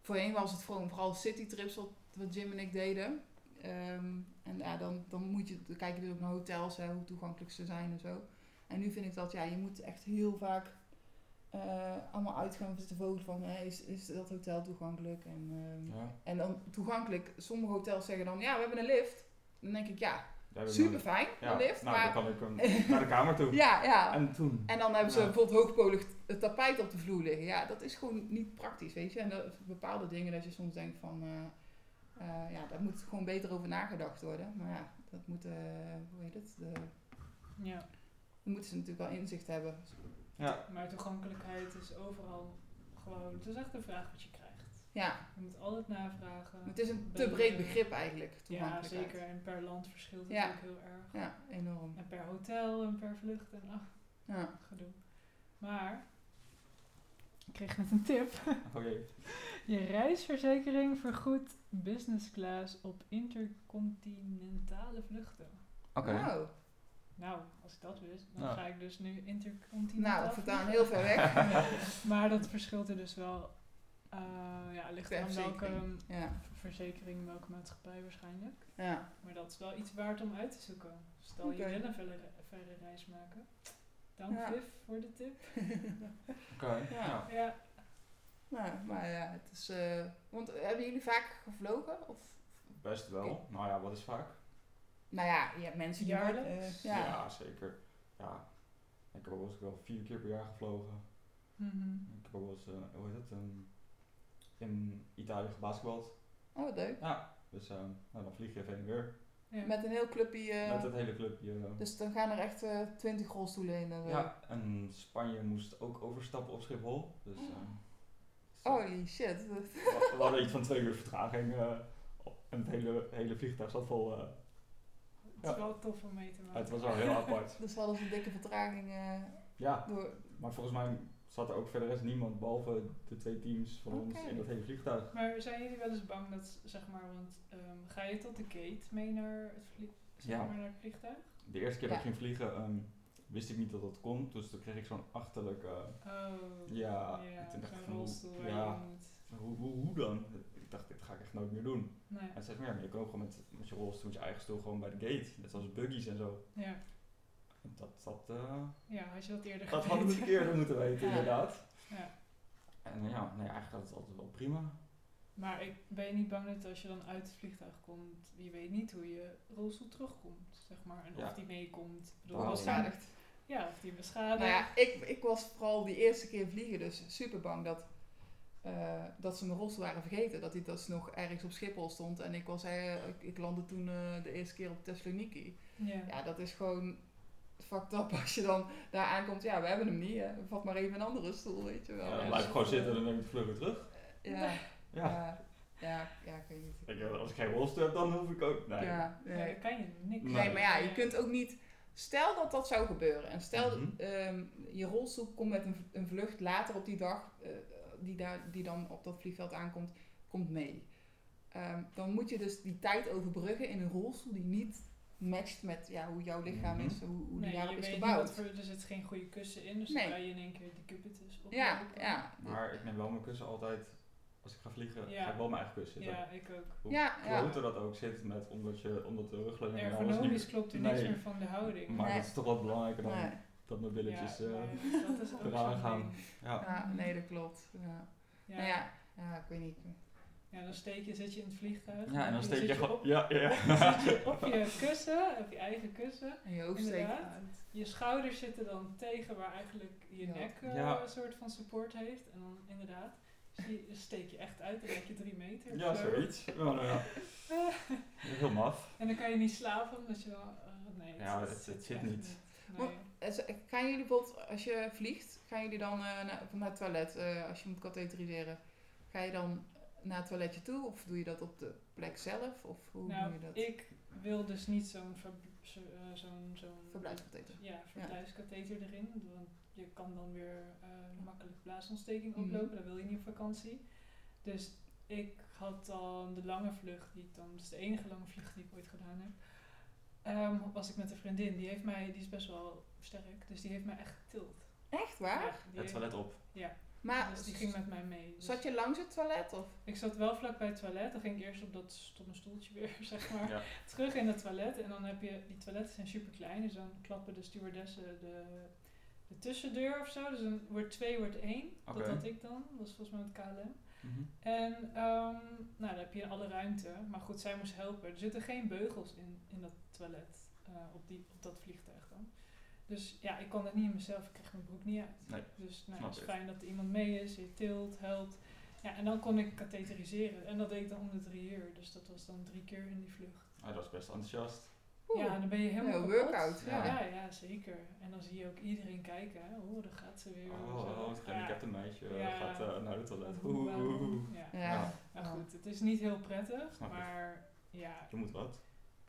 B: voorheen was het gewoon vooral citytrips wat, wat Jim en ik deden. Ehm, en ja, dan, dan, moet je, dan kijk je dus ook naar hotels, hè, hoe toegankelijk ze zijn en zo. En nu vind ik dat, ja, je moet echt heel vaak eh, allemaal uitgaan te vogel van, hè, is, is dat hotel toegankelijk? En, ehm,
A: Ja.
B: en dan toegankelijk, sommige hotels zeggen dan, ja, we hebben een lift. Dan denk ik, ja,
A: Daar heb ik
B: super
A: nooit-
B: fijn,
A: Ja,
B: een lift.
A: nou,
B: maar,
A: dan kan ik hem naar de kamer toe.
B: ja, ja.
A: En toen?
B: En dan hebben ze
A: Ja.
B: bijvoorbeeld hoogpolig t- tapijt op de vloer liggen. Ja, dat is gewoon niet praktisch, weet je. En dat, bepaalde dingen dat je soms denkt van... eh, eh, ja, daar moet gewoon beter over nagedacht worden. Maar ja, dat moet... eh, hoe heet het? De,
D: Ja.
B: dan moeten ze natuurlijk wel inzicht hebben.
A: ja.
D: Maar toegankelijkheid is overal gewoon. Het is echt een vraag wat je krijgt.
B: Ja,
D: Je moet altijd navragen.
B: het is een te
D: Bellen.
B: breed begrip eigenlijk,
D: Ja,
B: toegankelijkheid.
D: zeker. En per land verschilt het
B: Ja.
D: ook heel erg.
B: Ja, enorm.
D: En per hotel en per vlucht en ach,
B: Ja.
D: gedoe. Maar, ik kreeg net een tip.
A: Oh jee.
D: Je reisverzekering vergoedt business class op intercontinentale vluchten.
A: Oké.
B: Nou,
D: Nou, als ik dat wist, dan
A: Nou.
D: ga ik dus nu intercontinentaal
B: nou, vandaan heel
D: vliegen.
B: ver weg.
D: Maar dat verschilt er dus wel. eh ja, ligt
B: Per
D: aan welke
B: verzekering. ja,
D: verzekering, welke maatschappij waarschijnlijk.
B: ja.
D: Maar dat is wel iets waard om uit te zoeken. Stel
B: Oké.
D: je wil een verre, verre reis maken. Dank
B: Ja.
D: Viv voor de tip.
A: Oké.
B: Ja.
A: Ja.
D: Ja,
B: Nou, maar ja, het is... eh, want hebben jullie vaak gevlogen? Of,
A: Best wel. Nou ja, wat is vaak?
B: nou ja, je hebt mensen die... eh,
D: Jaarlijks?
B: ja.
A: zeker. Ja. Ik heb ook wel eens wel vier keer per jaar gevlogen.
D: Mhm.
A: Ik heb ook wel eens, eh, hoe heet het, ehm, in Italië gebasketbald.
B: Oh, wat leuk.
A: Ja, dus ehm, nou, dan vlieg je even heen en weer.
D: ja.
B: Met een heel clubje... eh,
A: Met het hele clubje. eh.
B: dus dan gaan er echt twintig rolstoelen in. en eh, zo.
A: ja, en Spanje moest ook overstappen op Schiphol. Dus, ehm, dus, eh,
B: Holy shit.
A: we- we hadden iets van twee uur vertraging. eh, op- en het hele, hele vliegtuig zat vol. eh,
D: Het is
A: Ja.
D: wel tof om mee te maken.
A: het was wel heel apart.
B: Dus hadden ze een dikke vertraging eh,
A: Ja,
B: door...
A: maar volgens mij zat er ook verder rest niemand behalve de twee teams van ons
B: Oké.
A: in dat hele vliegtuig.
D: Maar zijn jullie wel eens bang dat, zeg maar, want ehm, ga je tot de gate mee naar het, vlie- zeg
A: Ja.
D: maar naar het vliegtuig?
A: De eerste keer dat ik
B: Ja.
A: ging vliegen ehm, wist ik niet dat dat kon. Dus toen kreeg ik zo'n achterlijk. eh,
D: Oh,
A: Ja,
D: ja
A: ik dacht
D: zo'n
A: van,
D: rolstoel waar
A: ja.
D: je in moet.
A: hoe, hoe, hoe dan? Ik dacht, dit ga ik echt nooit meer doen.
D: Nee,
A: En ze zei, maar ja, maar je kan ook gewoon met, met je rolstoel, met je eigen stoel gewoon bij de gate. Net als buggies en zo.
D: ja.
A: En Dat, dat, eh,
D: ja, had je dat eerder
A: dat hadden we
D: geweten.
A: het eerder moeten weten,
B: Ja.
A: inderdaad.
D: Ja.
A: En eh, ja, nee, eigenlijk gaat het altijd wel prima.
D: Maar ik ben je niet bang dat als je dan uit het vliegtuig komt, je weet niet hoe je rolstoel terugkomt, zeg maar. En
A: Ja.
D: of die meekomt. Ik bedoel,
A: Daarom.
D: waarschijnlijk- Ja, of die beschadigd.
B: Nou ja, ik, ik was vooral die eerste keer vliegen dus super bang dat, eh, dat ze mijn rolstoel waren vergeten. Dat die dus nog ergens op Schiphol stond. En ik, was, eh, ik, ik landde toen eh, de eerste keer op Thessaloniki.
D: Ja.
B: Ja, dat is gewoon fucked up als je dan daar aankomt. Ja, we hebben hem niet. Hè. Vat maar even een andere stoel, weet je wel.
A: Ja,
D: ja,
A: dan
D: dat
A: blijf
D: is
A: ik gewoon
D: goed.
A: zitten en dan neem ik de vlug weer terug.
B: ja,
A: Ja.
B: ja, ja, ja, ik weet niet.
A: Ik, eh, als ik geen rolstoel heb, dan hoef ik ook. Nee.
B: Ja, nee.
D: Nee, kan je niks.
A: Nee,
B: Nee, maar ja, je kunt ook niet. Stel dat dat zou gebeuren en stel dat
A: Mhm.
B: ehm, je rolstoel komt met een, v- een vlucht later op die dag, eh, die, daar, die dan op dat vliegveld aankomt, komt mee. Ehm, dan moet je dus die tijd overbruggen in een rolstoel die niet matcht met ja, hoe jouw lichaam
A: Mhm.
B: is, hoe, hoe
D: Nee,
B: die
D: je
B: daarop is
D: weet niet
B: gebouwd.
D: wat voor- er zit geen goede kussen in, dus
B: Nee.
D: dan kan je in één keer die cubitus op.
B: Ja, ja.
A: Maar ik neem wel mijn kussen altijd. Als ik ga vliegen,
D: Ja.
A: ga ik wel mijn eigen kussen zitten.
D: Ja, ik ook.
A: Hoe
B: Ja, ja.
A: groter dat ook zit, met, omdat, je, omdat de rugleuning en alles niet-
D: Ergonomisch klopt er niks
A: Nee.
D: meer van de houding.
A: Maar
B: Nee.
A: dat is toch wat belangrijker dan
B: Nee,
A: dat mijn billetjes...
D: ja,
A: eh,
D: maar dat is ook
A: eraan
D: zo'n
A: gaan.
D: ding.
A: ja.
B: ja, nee, dat klopt. Ja.
D: Ja.
B: Nou
D: ja.
B: ja, ja, ik weet niet.
D: dan steek je, zit je in het vliegtuig.
A: Ja, en dan steek je
D: zit
A: gewoon...
D: op,
A: Ja, ja.
D: dan zit je op je kussen, op je eigen kussen.
B: En je hoofd steekt
D: Inderdaad.
B: uit.
D: Je schouders zitten dan tegen waar eigenlijk je
B: Ja.
D: nek eh,
A: Ja.
D: een soort van support heeft. En dan inderdaad, zie- steek je echt uit, dan heb je drie meter. of
A: Ja,
D: zo.
A: zoiets. Ja, nou ja. Heel maf.
D: En dan kan je niet slapen omdat je wel... eh, nee,
A: Ja, het- het zit
D: echt
A: niet.
D: Nee.
B: Eh, z- Gaan jullie bijvoorbeeld, als je vliegt, gaan jullie dan eh, naar, naar het toilet, eh, als je moet katheteriseren, ga je dan naar het toiletje toe of doe je dat op de plek zelf? Of hoe
D: Nou,
B: doe je dat?
D: ik wil dus niet zo'n... ver- zo- eh, zo'n zo'n
B: Verblijfskatheter.
D: Ja, verblijfskatheter erin. Want je kan dan weer eh, makkelijk blaasontsteking
B: Mhm.
D: oplopen. Dat wil je niet op vakantie. Dus ik had dan de lange vlucht, die ik dan, dat is de enige lange vlucht die ik ooit gedaan heb. Ehm, was ik met een vriendin. Die, heeft mij, die is best wel sterk, dus die heeft mij echt getild.
B: Echt waar?
D: Ja, die
A: Het toilet op.
B: Maar
D: heeft- dus die ging met mij mee. Dus
B: Ah, zat je langs het toilet of?
D: Ik zat wel vlak bij het toilet. Dan ging ik eerst op dat stomme stoeltje weer, zeg maar.
A: Ja.
D: Terug in het toilet. En dan heb je... Die toiletten zijn super klein. Dus dan klappen de stewardessen de, de tussendeur of zo. Dus dan wordt twee, wordt één.
A: Oké.
D: Dat had ik dan. Dat was volgens mij met KLM.
A: Mhm.
D: En ehm, nou, dan heb je alle ruimte. Maar goed, zij moest helpen. Er zitten geen beugels in, in dat toilet. eh, op, die, op dat vliegtuig dan. Dus ja, ik kon dat niet in mezelf. Ik kreeg mijn broek niet uit.
A: Nee,
D: dus
A: snap
D: nou, het is
A: ik.
D: fijn dat er iemand mee is. Je tilt, helpt. Ja, en dan kon ik katheteriseren. En dat deed ik dan om de drie uur. Dus dat was dan drie keer in die vlucht.
A: Hij was best enthousiast.
B: Oeh.
D: Ja, en dan ben je helemaal
B: Een
D: kapot.
B: workout,
A: ja.
D: ja, ja, zeker. En dan zie je ook iedereen kijken. hè. Oeh, dan gaat ze weer.
A: Oh,
D: zo.
A: oh, het gehandicapte meisje eh,
D: Ja.
A: gaat eh, naar de
D: Ja,
A: toilet.
D: hoe,
A: Oeh, oeh, oeh.
D: waarom? Ja.
B: Ja.
A: Ja.
D: Maar goed, het is niet heel prettig,
A: Snap ik.
D: maar ja,
A: Je moet wat.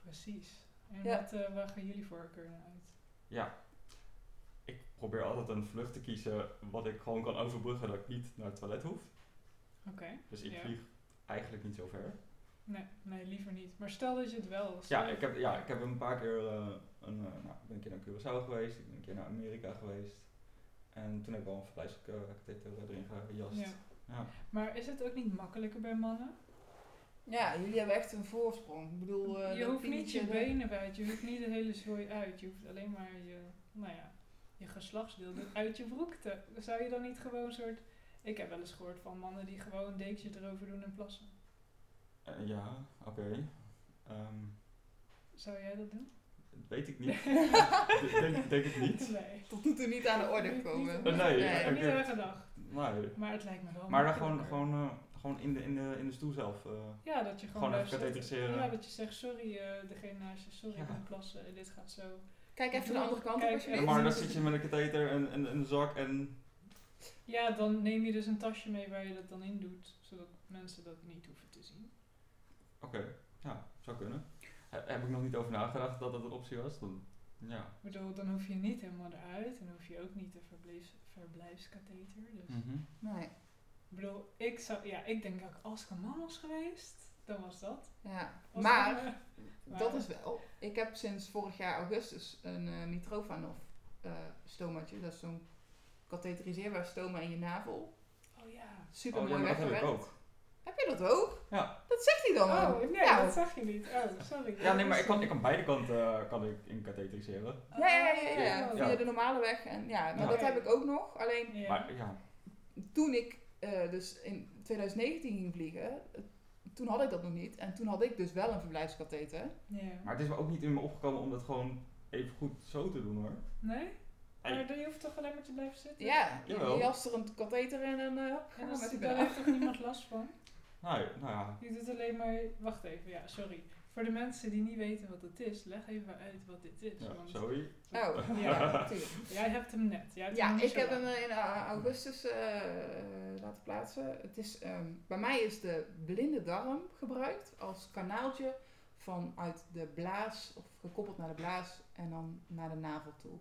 D: precies. En
B: Ja.
D: wat, eh, waar gaan jullie voorkeuren uit?
A: Ik probeer altijd een vlucht te kiezen wat ik gewoon kan overbruggen dat ik niet naar het toilet hoef.
D: Oké.
A: Dus ik
D: Ja.
A: vlieg eigenlijk niet zo ver.
D: Nee, nee, liever niet. Maar stel dat je het wel. stel-
A: Ja, ik heb, ja, ik heb een paar keer eh, een, eh, nou, ik ben een keer naar Curaçao geweest, ik ben een keer naar Amerika geweest. En toen heb ik wel een verblijfsacteur erin gejast.
D: Ja.
A: Ja.
D: Maar is het ook niet makkelijker bij mannen?
B: Ja, jullie hebben echt een voorsprong. Ik bedoel, eh,
D: je
B: dat
D: hoeft niet je
B: pinnetje-
D: benen uit, je hoeft niet de hele zooi uit. Je hoeft alleen maar je, nou ja, je geslachtsdeel uit je broek te... Zou je dan niet gewoon een soort... Ik heb wel eens gehoord van mannen die gewoon een dekentje erover doen en plassen.
A: Eh, ja, oké. Ehm,
D: Zou jij dat doen?
A: dat weet ik niet. denk, denk ik niet.
D: Nee.
B: Tot nu toe niet aan de orde gekomen.
A: Eh, nee,
D: ik heb
A: ik-
D: niet aan gedacht.
A: Nee.
D: Maar het lijkt me wel
A: Maar dan gewoon,
D: makkelijker.
A: gewoon, eh, gewoon in, de, in, de, in de stoel zelf. eh,
D: Ja, dat je gewoon,
A: Gewoon even
D: blijft zitten.
A: katheteriseren.
D: Ja, dat je zegt, sorry eh, degene naast je, sorry, ik
A: Ja.
D: ben plassen en dit gaat zo.
B: Kijk even de andere kant op
D: Kijk,
B: alsjeblieft.
D: Ja,
A: maar dan
D: precies.
A: zit je met een katheter en en- en een zak en...
D: Ja, dan neem je dus een tasje mee waar je dat dan in doet, zodat mensen dat niet hoeven te zien.
A: Oké, ja, zou kunnen. He- heb ik nog niet over nagedacht dat dat een optie was. Dan, ja.
D: Ik bedoel, dan hoef je niet helemaal eruit en hoef je ook niet de verblijfs, verblijfskatheter. Dus.
A: Hm.
B: Nee,
D: Ik bedoel, ik, zou, ja, ik denk dat ik als ik een man was geweest, dan was dat.
B: ja.
D: Als
B: Maar,
D: ik, eh,
B: dat is wel. Ik heb sinds vorig jaar augustus een eh mitrofanov eh, stomaatje. Dat is zo'n katheteriseerbaar stoma in je navel.
D: Oh ja.
B: Super
A: Oh, ja,
B: mooi
A: maar dat heb ik
B: weggewerkt.
A: ook.
B: Heb je dat ook?
A: Ja.
B: Dat zegt hij dan
D: Oh,
B: ook.
D: nee,
B: ja.
D: dat zag je niet. Oh, sorry.
A: Ja, nee, maar ik kan, ik kan beide kanten eh, kan ik in katheteriseren.
B: Ja, ja, ja, ja, ja.
A: Oh.
B: Via de normale weg. En, ja, maar
A: Ja.
B: dat heb ik ook nog. Alleen
D: Ja.
A: Maar ja,
B: toen ik eh, dus in 2019 ging vliegen, eh, toen had ik dat nog niet. En toen had ik dus wel een verblijfskatheter.
D: Ja.
A: maar het is me ook niet in me opgekomen om dat gewoon even goed zo te doen hoor.
D: Nee?
A: Hey.
D: Maar dan- je hoeft toch alleen maar te blijven zitten?
B: Ja,
A: Jawel.
B: je jas er een katheter in en eh hop,
D: En
B: gaan we met
D: als het-
B: die
D: daar
B: bellen.
D: heeft toch niemand last van?
A: Nou, ja, nou ja,
D: Je doet alleen maar... Wacht even, ja, sorry. Voor de mensen die niet weten wat het is, leg even uit wat dit is.
A: ja
D: want-
A: sorry.
B: Oh, ja,
D: Ja.
B: natuurlijk.
D: Jij hebt hem net. Jij hebt hem
B: Ja,
D: niet
B: ik
D: zo
B: heb
D: lang.
B: hem eh, in eh, augustus eh, laten plaatsen. Het is, ehm, bij mij is de blinde darm gebruikt als kanaaltje vanuit de blaas, of gekoppeld naar de blaas en dan naar de navel toe.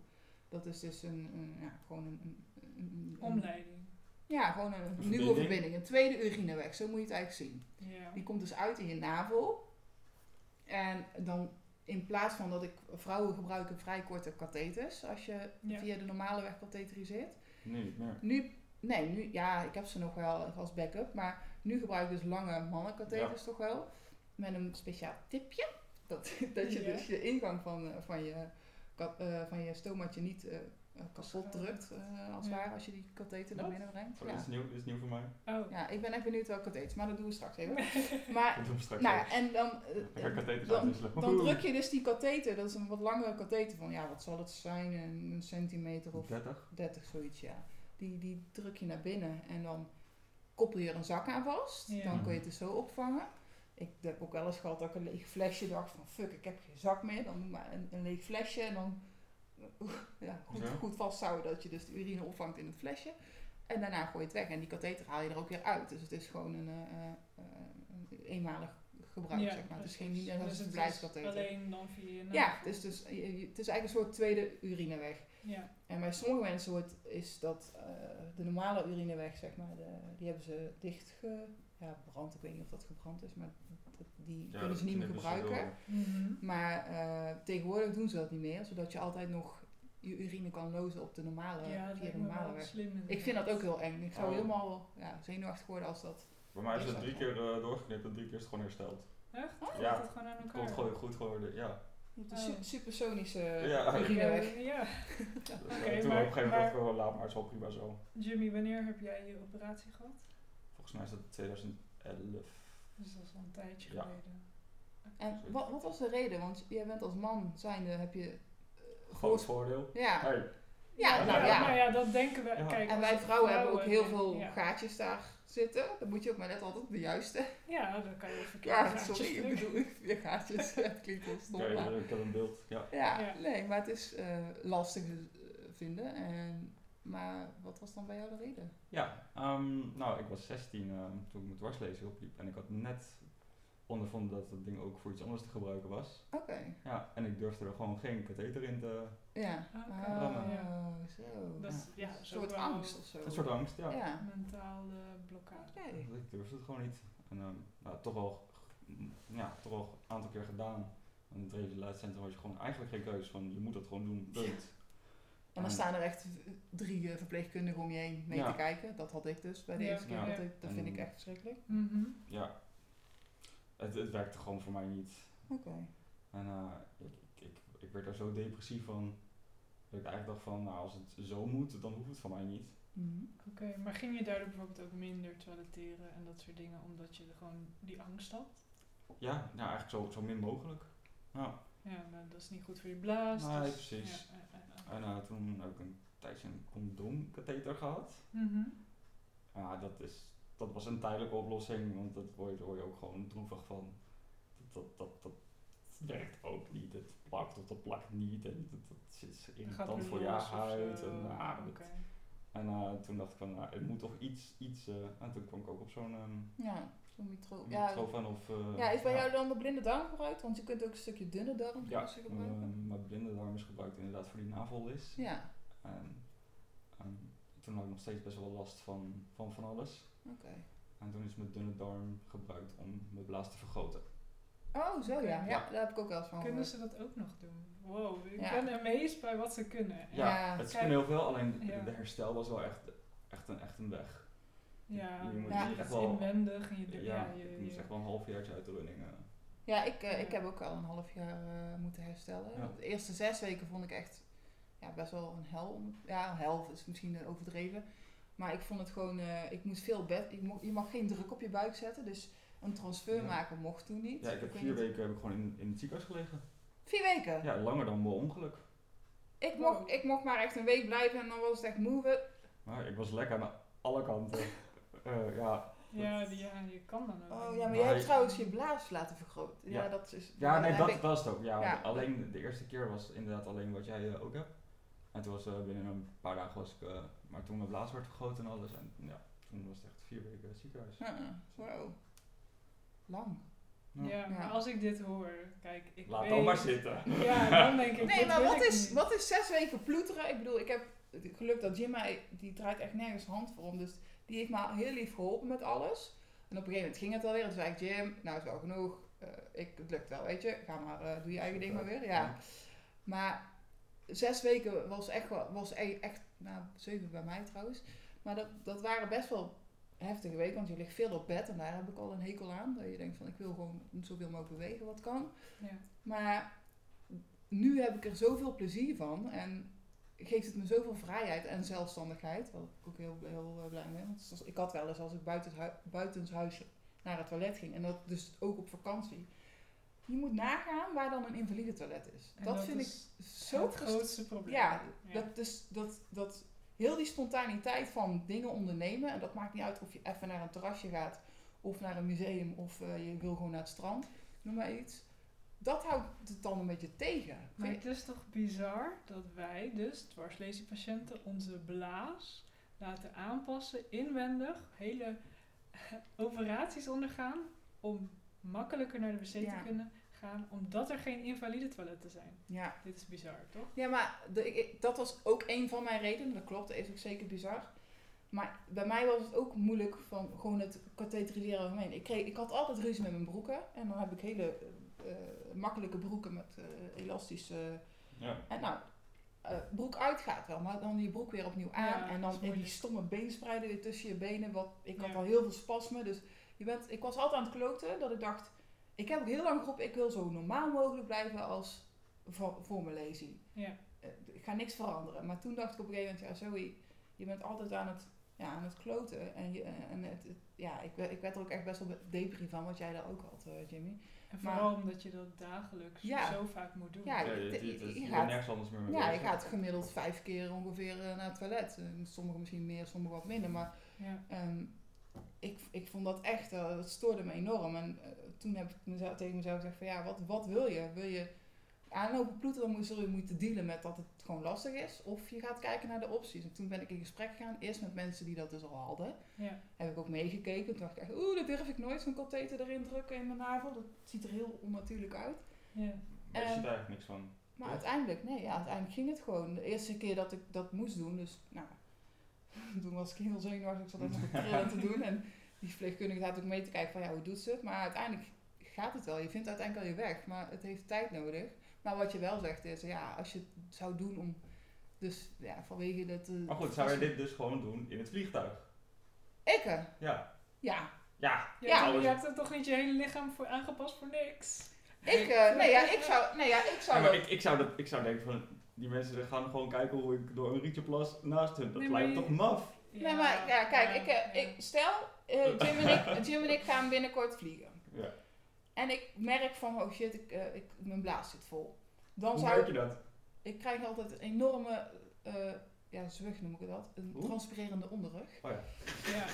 B: Dat is dus een, een- ja, gewoon een, een- een- een- een-
D: Omleiding.
B: Ja, gewoon een, nieuwe
A: verbinding.
B: verbinding. Een tweede urineweg, zo moet je het eigenlijk zien.
D: Ja.
B: Die komt dus uit in je navel. En dan in plaats van dat ik vrouwen gebruiken vrij korte katheters, als je
D: Ja.
B: via de normale weg katheteriseert.
A: Nu niet meer.
B: Nu, nee, nu, ja, ik heb ze nog wel als backup, maar nu gebruik ik dus lange mannenkatheters toch wel. Met een speciaal tipje. Dat, dat je
D: Ja.
B: dus je ingang van, eh, van, je, kat- eh, van je stomaatje niet eh, eh, kapot
D: Schaadt.
B: drukt, eh, als het
D: Ja.
B: ware, als je die katheter naar
D: Wat?
B: binnen brengt.
A: Oh,
B: ja.
A: dit, is nieuw, dit is nieuw voor mij.
D: Oh.
B: ja, ik ben echt benieuwd welke katheter, maar dat doen we straks even. Maar,
A: Ik doe hem straks
B: nou
A: even.
B: ja, en dan... eh,
A: Ik ga katheters
B: dan-
A: uitwisselen.
B: dan druk je dus die katheter, dat is een wat langere katheter van, ja, wat zal het zijn, een een centimeter of
A: 30.
B: 30 zoiets, ja. Die, die druk je naar binnen en dan koppel je er een zak aan vast.
D: Ja.
B: Dan kun je het dus zo opvangen. Ik heb ook wel eens gehad dat ik een leeg flesje dacht van fuck, ik heb geen zak meer. Dan doe maar een, een leeg flesje en dan ja, goed,
A: Ja.
B: goed vasthouden dat je dus de urine opvangt in het flesje. En daarna gooi je het weg en die katheter haal je er ook weer uit. Dus het is gewoon een, eh, eh, een eenmalig gebruik,
D: Ja,
B: zeg maar. Het is
D: precies.
B: geen niet net
D: Dus
B: als een
D: het is
B: verblijfskatheter.
D: Alleen dan via je
B: Ja,
D: navel.
B: dus, dus, je- je- het is eigenlijk een soort tweede urineweg.
D: Ja.
B: En bij sommige mensen wordt, is dat eh, de normale urineweg, zeg maar, de, die hebben ze dicht ge, ja, brand. Ik weet niet of dat gebrand is, maar dat- die
A: Ja,
B: kunnen ze
A: dat
B: dus niet meer
A: knippen ze
B: gebruiken.
A: door.
D: Mhm.
B: Maar eh, tegenwoordig doen ze dat niet meer, zodat je altijd nog je urine kan lozen op de normale,
D: Ja, dat
B: via
D: lijkt
B: de
D: me
B: normale
D: wel
B: weg.
D: slim
B: Ik vind dat ook heel eng. Ik zou
A: Oh.
B: helemaal ja, zenuwachtig worden als dat.
A: Bij mij is het drie keer eh, doorgeknipt en drie keer is het gewoon hersteld.
D: Echt?
B: Oh.
A: Ja.
D: Ja. het gewoon aan
A: Het
D: elkaar.
A: komt gewoon goed geworden, ja.
B: Je hebt een
D: Oh.
B: su- supersonische
A: Ja.
B: urineweg.
D: Ja, ja.
A: Dus, eh,
D: Oké,
A: toen op
D: maar-
A: een gegeven moment
D: maar-
A: dacht ik wel, laat maar, het is wel prima zo.
D: Jimmy, wanneer heb jij je operatie gehad?
A: Volgens mij is dat 2011.
D: Dus dat is al een tijdje
A: Ja.
D: geleden.
B: En wat, wat was de reden? Want jij bent als man zijnde, heb je... eh,
A: Groot
B: gehoors-
A: voordeel.
B: Ja,
A: Hey,
B: Ja, nou ja.
D: Maar ja, dat denken we.
A: Ja.
B: En
D: Kijk, als
B: wij
D: het
B: vrouwen hebben ook heel
D: denken-
B: veel
D: ja.
B: gaatjes daar zitten, dan moet je ook maar net altijd de juiste.
D: Ja, dan kan je wel verkeerde
B: Ja,
D: gaatjes
B: sorry, ik
D: drukken.
B: bedoel, ik weer gaatjes. Ja, het klinkt heel stom,
A: Oké,
B: maar-
A: eh, ik heb een beeld. Ja.
B: Ja,
D: Ja.
B: nee, maar het is eh, lastig eh, vinden. En, maar wat was dan bij jou de reden?
A: Ja, ehm, nou, ik was 16 ehm, toen ik mijn dwarslezen opliep. En ik had net ondervonden dat dat ding ook voor iets anders te gebruiken was.
B: Oké,
A: Ja, en ik durfde er gewoon geen katheter in te...
B: ja.
D: Oké, Oh,
B: Ah,
D: ja.
B: zo.
D: Dat is, ja,
B: Een
D: zo
B: soort
D: wel
B: angst of zo.
A: Een soort angst, ja.
B: Ja.
D: Mentale blokkade.
B: Oké.
A: Ik durfde het gewoon niet. En ehm, nou, toch wel, mm, ja, toch wel een aantal keer gedaan. En het revalidatiecentrum was je gewoon eigenlijk geen keus van je moet dat gewoon doen, punt.
B: En dan staan er echt eh, drie eh, verpleegkundigen om je heen mee
A: Ja.
B: te kijken. Dat had ik dus bij de
D: Ja.
B: eerste keer.
A: Ja.
B: Dat, ik- dat vind
A: En-
B: ik echt verschrikkelijk.
D: Mhm.
A: Ja, het, het werkte gewoon voor mij niet.
B: Oké.
A: En eh, ik, ik, ik, ik werd daar zo depressief van. Dat ik eigenlijk dacht van, nou als het zo moet, dan hoeft het van mij niet.
B: Mhm.
D: Oké, maar ging je daardoor bijvoorbeeld ook minder toileteren en dat soort dingen, omdat je er gewoon die angst had?
A: Ja, nou eigenlijk zo, zo min mogelijk. Ja.
D: Ja, maar dat is niet goed voor je blaas.
A: Nee,
D: dus-
A: precies.
D: Ja, ja, ja, ja.
A: En eh, toen heb ik een tijdje een condoomkatheter gehad.
D: Mhm.
A: Ja, dat, is, dat was een tijdelijke oplossing, want dat word je, daar word je ook gewoon droevig van. Dat, dat, dat, dat werkt ook niet. Het plakt of dat plakt niet. En dat, dat is
D: Dan gaat
A: irritant
D: weer
A: voor je
D: los of zo.
A: huid. En, ah, dat-
D: Oké.
A: en eh, toen dacht ik van, nou, het moet toch iets, iets. eh, en toen kwam ik ook op zo'n ehm,
B: Ja, zo'n mitro.
A: Ja,
B: Ja.
A: Trofan of... eh,
B: ja, is bij jou dan de blinde darm gebruikt? Want je kunt ook een stukje dunne darm
A: Ja,
B: kunnen gebruiken.
A: eh, maar blinde darm is gebruikt inderdaad voor die navellis.
B: Ja,
A: En, en toen had ik nog steeds best wel last van van, van alles.
B: oké.
A: En toen is mijn dunne darm gebruikt om mijn blaas te vergroten.
B: Oh, zo ja.
D: Oké.
B: Ja, daar heb ik ook wel eens van
D: Kunnen
B: gehoord.
D: ze dat ook nog doen? Wow, ik
B: Ja.
D: ben amazed bij wat ze kunnen.
A: Ja,
B: Ja,
A: het is
D: Ah, kijk.
A: heel veel, alleen
D: Ja.
A: de herstel was wel echt, echt, een, echt een weg.
D: Ja,
A: Je moet
D: ja,
A: echt
D: het is
A: wel-
D: inwendig en je
A: Ja,
D: doet- ja, je,
A: ik moest
D: je-
A: echt wel een halfjaartje uit de running. eh.
B: Ja, ik, eh, ik heb ook al een half jaar eh, moeten herstellen.
A: Ja.
B: De eerste zes weken vond ik echt ja, best wel een hel. om- Ja, een hel is misschien eh, overdreven. Maar ik vond het gewoon, eh, ik moest veel bed. Ik mo- je mag geen druk op je buik zetten. Dus een transfer
A: Ja.
B: maken mocht toen niet.
A: Ja, ik heb
B: weet
A: vier
B: niet-
A: weken heb ik gewoon in, in het ziekenhuis gelegen.
B: Vier weken?
A: Ja, langer dan mijn ongeluk.
B: Ik,
D: Wow.
B: mocht, ik mocht maar echt een week blijven en dan was het echt move.
A: Maar ik was lekker aan alle kanten. Eh, ja,
D: ja, die- ja, je kan dan ook.
B: Oh
D: niet.
B: ja, maar
A: jij
B: jij
A: hebt
B: hebt trouwens je blaas laten vergroten. Ja,
A: Ja.
B: dat is.
A: Ja, nee,
B: daar
A: dat
B: heb ik-
A: was het ook. Ja,
B: Ja.
A: Alleen de eerste keer was het inderdaad alleen wat jij eh, ook hebt. En toen was eh, binnen een paar dagen was ik, eh, maar toen mijn blaas werd vergroot en alles. En ja, toen was het echt vier weken ziekenhuis.
B: Uh-uh. Wow. Lang.
A: Nou,
D: Ja, maar
B: Ja.
D: als ik dit hoor, kijk, ik
A: Laat
D: weet...
A: dan maar zitten.
D: Ja, dan denk ik,
B: Nee,
D: dit
B: maar
D: wil
B: wat
D: ik
B: is,
D: niet.
B: wat is zes weken ploeteren? Ik bedoel, ik heb het geluk dat Jim mij, die draait echt nergens hand voor om. Dus die heeft me heel lief geholpen met alles. En op een gegeven moment ging het alweer. En toen zei ik, Jim, nou is wel genoeg. Eh, ik, het lukt wel, weet je. Ga maar, eh, doe je eigen ding maar weer. Ja. Maar zes weken was echt, wel- was e- echt nou, zeven bij mij trouwens. Maar dat, dat waren best wel heftige weken, want je ligt veel op bed. En daar heb ik al een hekel aan. Dat je denkt van, ik wil gewoon zoveel mogelijk bewegen wat kan.
D: Ja.
B: Maar nu heb ik er zoveel plezier van en geeft het me zoveel vrijheid en zelfstandigheid. Waar ik ook heel, heel eh, blij mee ben. Want zoals- ik had wel eens als ik buiten, het hui- buiten het huis naar het toilet ging. En dat dus ook op vakantie. Je moet nagaan waar dan een invalide toilet is.
D: En
B: Dat, vind ik
D: is
B: zo
D: het
B: frustrerend.
D: grootste probleem.
B: Ja, dat, dus, dat, dat heel die spontaniteit van dingen ondernemen, en dat maakt niet uit of je even naar een terrasje gaat, of naar een museum, of eh, je wil gewoon naar het strand, noem maar iets. Dat houdt het dan een beetje tegen.
D: Maar het is toch bizar dat wij dus, dwarsleziepatiënten, onze blaas laten aanpassen, inwendig, hele operaties ondergaan om makkelijker naar de wc
B: Ja.
D: te kunnen gaan, omdat er geen invalide toiletten zijn.
B: Ja.
D: Dit is bizar, toch?
B: Ja, maar de- ik- ik- dat was ook een van mijn redenen. Dat klopt, dat is ook zeker bizar. Maar bij mij was het ook moeilijk van gewoon het katheteriseren algemeen. Ik, kreeg, ik had altijd ruzie met mijn broeken. En dan heb ik hele eh, eh, makkelijke broeken met eh, elastische...
A: Ja.
B: en nou, eh, broek uit gaat wel, maar dan die broek weer opnieuw aan.
D: Ja,
B: en
D: dat
B: dan
D: is
B: in die
D: moeilijk.
B: stomme beenspreiden weer tussen je benen. Wat, ik had
D: Ja.
B: al heel veel spasmen. Dus je bent, ik was altijd aan het kloten dat ik dacht... Ik heb ook heel lang geroepen, ik wil zo normaal mogelijk blijven als voor, voor mijn lazy
D: Ja.
B: eh, ik ga niks veranderen. Maar toen dacht ik op een gegeven moment, ja, Zoe, je bent altijd aan het, ja, aan het kloten. En, je, en het, het- ja, ik, werd- ik werd er ook echt best wel depri van, wat jij daar ook had, eh, Jimmy.
D: En
B: Maar-
D: vooral omdat je dat dagelijks
B: Ja.
D: zo vaak moet doen.
B: Ja,
A: Ja,
B: je-
A: je,
B: je-
A: je- je-
B: je
A: je
B: gaat-
A: bent nergens anders meer mee
B: Ja, je
A: bezig.
B: gaat gemiddeld vijf keer ongeveer eh, naar het toilet. Eh, Sommigen misschien meer, sommigen wat minder. Maar
D: Ja.
B: ehm, ik, ik vond dat echt, eh, dat stoorde me enorm. En eh, toen heb ik mezelf, tegen mezelf gezegd van ja, wat, wat wil je? Wil je aanlopen ploeteren, dan zul je moeten dealen met dat het gewoon lastig is. Of je gaat kijken naar de opties. En toen ben ik in gesprek gegaan, eerst met mensen die dat dus al hadden.
D: Ja.
B: Heb ik ook meegekeken. Toen dacht ik echt, oeh, dat durf ik nooit, zo'n katheter erin drukken in mijn navel. Dat ziet er heel onnatuurlijk uit.
D: ja.
A: Daar
B: Eh,
A: zit eigenlijk niks van.
B: Maar
A: Ja.
B: uiteindelijk, nee, ja, uiteindelijk ging het gewoon. De eerste keer dat ik dat moest doen, dus nou, toen was ik heel zenuwachtig, ik zat even te trillen te doen. En die verpleegkundige had ook mee te kijken van, ja, hoe doet ze het? Maar uiteindelijk gaat het wel. Je vindt uiteindelijk al je weg, maar het heeft tijd nodig. Maar wat je wel zegt is, ja, als je het zou doen om, dus ja, vanwege dat... eh,
A: Maar goed, zou je dit dus gewoon doen in het vliegtuig?
B: Ikke,
A: Ja.
B: ja.
A: Ja,
D: Je,
B: Ja.
D: hebt, je
A: Alles-
D: hebt er toch niet je hele lichaam voor aangepast voor niks?
B: Ik, eh, nee, ja, ik zou, nee, ja, ik zou
A: Ja, maar
B: Oh, dat-
A: ik, ik, zou dat, ik zou denken van, die mensen gaan gewoon kijken hoe ik door een rietje plas naast hun. Dat
D: Nee, maar
A: lijkt
D: je-
A: toch maf?
B: Nee, maar ja, kijk, ik, eh,
D: ja.
B: ik, stel, eh, Jim, en ik, Jim en ik gaan binnenkort vliegen.
A: Ja.
B: En ik merk van, oh shit, ik, eh, ik, mijn blaas zit vol. Dan
A: Hoe
B: zou
A: merk
B: ik,
A: je dat?
B: ik krijg altijd een enorme, eh, ja, zwug noem ik dat, een
A: Hoe?
B: transpirerende onderrug.
D: Ja,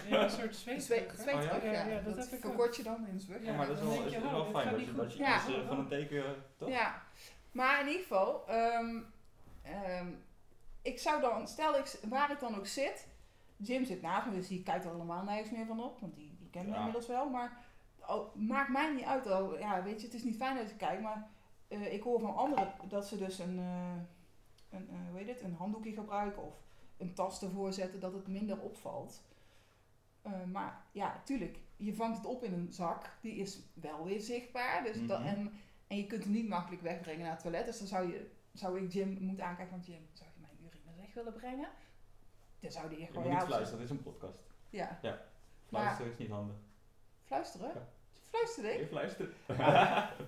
D: ja, een soort
B: Een
D: zweet.
B: Twee, twee
A: Oh ja?
B: terug, ja.
D: Ja, ja, dat
B: dat
D: heb ik ook.
B: verkort je dan in zwug.
D: Ja,
A: Ja, maar dat is
D: dan
A: wel,
D: denk
A: is,
D: je,
A: is
D: oh,
A: wel
D: dit
A: fijn
D: gaat
A: dat
D: niet
A: je,
D: goed.
A: dat je
B: Ja.
A: dat ze van een teken, eh, toch?
B: Ja, maar in ieder geval, ehm, ehm, ik zou dan, stel ik, waar ik dan ook zit, Jim zit naast me, dus die kijkt er allemaal nergens meer van op, want die, die kent me
A: Ja.
B: inmiddels wel, maar oh, maakt mij niet uit, oh, ja, weet je, het is niet fijn dat ik kijk, maar eh, ik hoor van anderen dat ze dus een, eh, een eh, hoe heet het, een handdoekje gebruiken of een tas ervoor zetten, dat het minder opvalt. Eh, maar ja, tuurlijk, je vangt het op in een zak, die is wel weer zichtbaar, dus dat,
A: Mhm.
B: en en je kunt het niet makkelijk wegbrengen naar het toilet. Dus dan zou, je, zou ik Jim moeten aankijken. Want Jim, zou je mijn urine weg willen brengen? Dan zou die
A: Je
B: echt
A: moet
B: gewoon...
A: niet
B: ja,
A: fluisteren, dat is een podcast.
B: ja.
A: Fluisteren is niet handig.
B: Fluisteren?
A: Ja.
B: Fluisterde ik?
A: Je fluistert.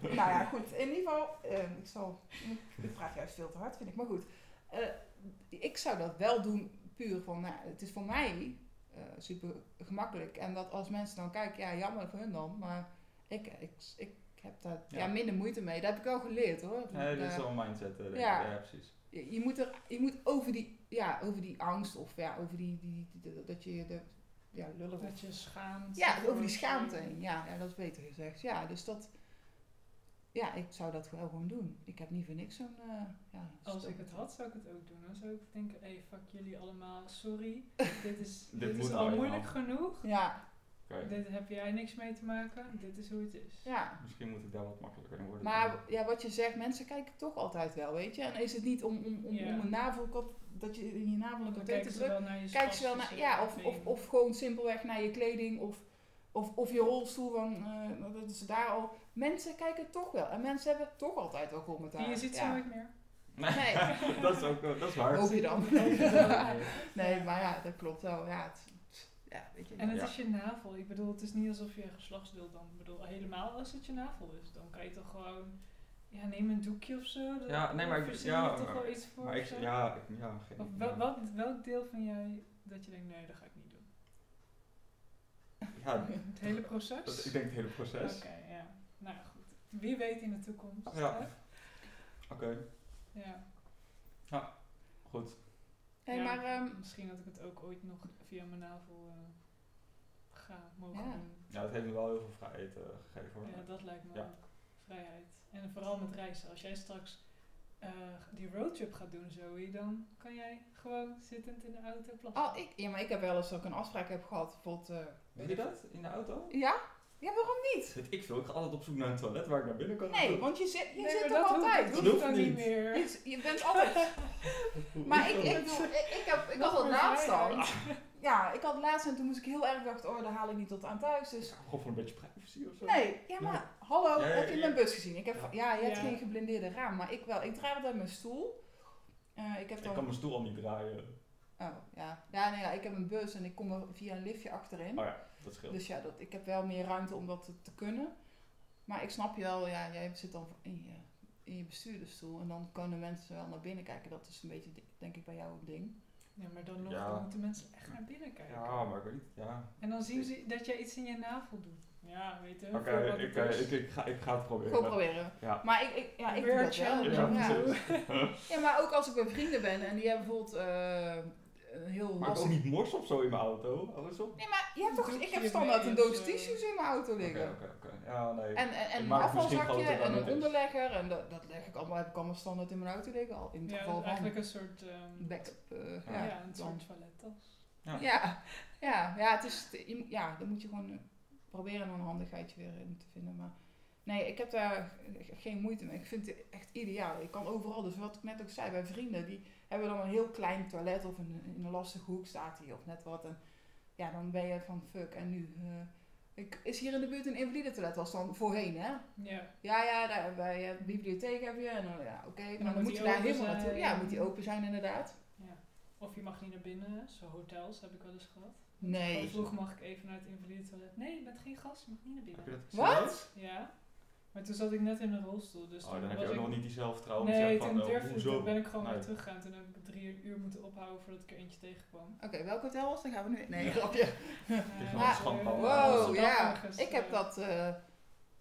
B: nou ja, goed. In ieder geval... eh, ik zal... Ik praat juist veel te hard, vind ik. Maar goed. Eh, ik zou dat wel doen puur van... Nou, het is voor mij eh, super gemakkelijk. En dat als mensen dan kijken... Ja, jammer voor hun dan. Maar ik, ik, ik heb daar ja.
A: Ja.
B: minder moeite mee. Dat heb ik wel geleerd, hoor.
A: Nee, dat
B: Eh,
A: is wel een mindset. eh, denk ik.
B: Ja.
A: Ja. precies.
B: je je moet, er, je moet over, die, ja, over die angst of ja, over die, die, die- die- dat je de, ja, lullig
D: Dat je schaamt.
B: Ja, over die schaamte heen. Ja, ja, dat is beter gezegd. Ja, dus dat, ja, ik zou dat wel gewoon doen. Ik heb niet voor niks zo'n, eh, ja.
D: Als
B: stom-
D: ik het had, zou ik het ook doen. Dan zou ik denken, hé, hey, fuck jullie allemaal, sorry. dit is,
A: Dit
D: dit is
A: moet
D: al
A: allemaal.
D: moeilijk genoeg.
B: Ja,
A: Oké,
D: Dit heb jij niks mee te maken. Dit is hoe het is.
B: ja.
A: misschien moet ik daar wat makkelijker in worden.
B: Maar ja, wat je zegt, mensen kijken toch altijd wel, weet je. En is het niet om, om, om,
D: Ja.
B: om een navelkop, dat je in je navel een
D: Dan
B: katheter
D: kijken ze
B: drukt.
D: wel naar je
B: Kijk ze wel naar,
D: spastische
B: ja, of, of,
D: been.
B: of gewoon simpelweg naar je kleding of, of, of je rolstoel, van, eh, dat is daar al. Mensen kijken toch wel en mensen hebben toch altijd wel commentaar.
D: En je ziet ze
B: ja.
D: nooit meer.
B: Nee.
A: dat is ook eh, dat is hard.
B: Hoop je dan.
A: Nee.
B: nee, maar ja, dat klopt wel. Ja, het, ja weet je.
D: En het
A: Ja.
D: is je navel. Ik bedoel, het is niet alsof je een geslachtsdeel dan... Ik bedoel, helemaal als het je navel is. Dan kan je toch gewoon... Ja, neem een doekje of zo. Dan
A: Ja, nee, maar ik-
D: verzin
A: ja,
D: je toch
A: maar-
D: wel iets voor
A: Maar
D: of
A: ik,
D: zo?
A: ja, ik, ja, geen
D: Of wel- wat, welk deel van jij dat je denkt, nee, dat ga ik niet doen?
A: Ja,
D: Het hele proces?
A: dat, ik denk het hele
D: Oké,
A: proces.
D: ja. Nou ja, goed. Wie weet in de toekomst.
A: Ja.
D: hè?
A: Oké,
D: ja.
A: goed.
B: Hey,
D: Ja,
B: maar ehm,
D: Misschien dat ik het ook ooit nog via mijn navel eh, ga mogen
B: Ja.
D: doen.
A: Ja, het heeft me wel heel veel vrijheid eh, gegeven hoor.
D: Ja, dat lijkt me
A: Ja.
D: ook. Vrijheid. En vooral met reizen. Als jij straks eh, die roadtrip gaat doen, Zoe, dan kan jij gewoon zittend in de auto plassen.
B: oh, ik, ja, maar ik heb wel eens dat ik een afspraak heb gehad. Bijvoorbeeld, eh,
A: Weet je dat? In de auto?
B: ja? Ja, waarom niet?
A: Weet ik veel. Ik ga altijd op zoek naar een toilet waar ik naar binnen kan.
B: Nee, want je zit, je
D: Nee,
B: zit
D: maar
B: er
D: dat hoeft-
B: altijd.
D: Dat
A: Dat
D: hoeft dan
A: hoeft
D: niet
A: niet.
D: meer.
B: Je, je bent altijd. Maar ik, ik, bedoel, ik, ik, heb, ik
D: Wat
B: had het
D: voor
B: laatst dan.
A: Ah.
D: vrijheid.
B: Ja, ik had laatst en toen moest ik heel erg dacht, oh, daar haal ik niet tot aan thuis. Dus
A: Gewoon voor een beetje privacy of zo.
B: nee, ja maar hallo,
A: Ja, ja,
B: heb je
A: ja.
B: mijn bus gezien? Ik heb, ja, je hebt
D: Ja.
B: geen geblindeerde raam, maar ik wel. Ik draai altijd mijn stoel. Eh, ik heb
A: Ik
B: dan,
A: kan mijn stoel al niet draaien.
B: oh ja, ja, nee, ja, ik heb een bus en ik kom er via een liftje achterin.
A: Oh ja, dat scheelt.
B: Dus ja, dat, ik heb wel meer ruimte om dat te, te kunnen. Maar ik snap je wel, ja, jij zit dan in je, in je bestuurdersstoel en dan kunnen mensen wel naar binnen kijken. Dat is een beetje, denk ik, bij jou een ding.
D: Ja, maar dan nog
A: Ja.
D: dan moeten mensen echt naar binnen kijken.
A: Ja, maar ik weet niet. Ja.
D: En dan zien ze dat jij iets in je navel doet. Ja, weet je.
A: Oké, ik, eh, ik, ik, ga, ik ga het proberen.
B: Gewoon proberen.
A: Ja.
B: Maar ik, ik, ja, ik doe
D: Weer
B: dat wel.
D: challenge.
A: Ja,
B: Ja.
A: precies.
B: Ja, maar ook als ik bij vrienden ben en die hebben bijvoorbeeld eh, een heel
A: Maar ik ook
B: lastig...
A: niet mors of zo in mijn auto. Oh, is op.
B: Nee, maar je hebt toch,
D: Doekje
B: ik heb standaard
D: mee
B: een
D: of
B: doos
D: zo.
B: tissues in mijn auto
A: Oké,
B: liggen.
A: oké, oké. Ja, nee.
B: En, en, en
A: Ik
B: een
A: maak het misschien
B: afvalzakje
A: groter dan
B: en
A: het
B: een
A: is.
B: onderlegger. En dat, dat leg ik allemaal, heb ik allemaal standaard in mijn auto liggen. Al in het
D: Ja,
B: geval
D: dat is
B: van
D: eigenlijk een soort... ehm,
B: backup. eh,
A: Ja.
D: ja,
B: ja,
D: een
B: dan.
D: soort toilettas.
A: Ja.
B: Ja, ja, ja, het is, te- je moet- ja, dan moet je gewoon eh, proberen een handigheidje weer in te vinden. Maar nee, ik heb daar eh, geen moeite mee. Ik vind het echt ideaal. Ik kan overal, dus wat ik net ook zei, bij vrienden, die hebben dan een heel klein toilet of een, in een lastige hoek staat hij of net wat. En ja, dan ben je van fuck en nu. eh, ik, is hier in de buurt een invalide toilet, was dan voorheen hè?
D: Ja,
B: Ja, ja, daar, bij eh, de bibliotheek heb je. En, eh, ja, oké, maar dan
D: moet
B: moet
D: die
B: je daar
D: open
B: helemaal naartoe.
D: zijn.
B: Ja, moet die open zijn inderdaad.
D: ja. Of je mag niet naar binnen, zo hotels heb ik wel eens gehad.
B: Nee.
D: Van vroeger mag ik even naar het invalide toilet. Nee, je bent geen gast, je mag niet naar
A: Heb
D: binnen.
A: je dat
B: Wat?
A: gezien?
D: Ja, maar toen zat ik net in een rolstoel, dus
A: Oh,
D: toen
A: dan heb je
D: was
A: ook
D: ik...
A: nog niet die zelfvertrouwen. om te
D: Nee,
A: zeggen
D: toen
A: van, eh,
D: durfde ik,
A: hoezo?
D: toen ben ik gewoon
A: Nee.
D: weer teruggegaan. Toen heb ik drie uur moeten ophouden voordat ik er eentje tegenkwam.
B: Oké, welk hotel was? Dan gaan we nu. Nee,
A: Ja.
B: grapje.
A: is
D: Eh,
A: wel een schandpaal.
D: eh,
B: Wow,
D: Amsterdam
B: ja.
D: ergens,
B: Ik heb
D: eh,
B: dat. eh,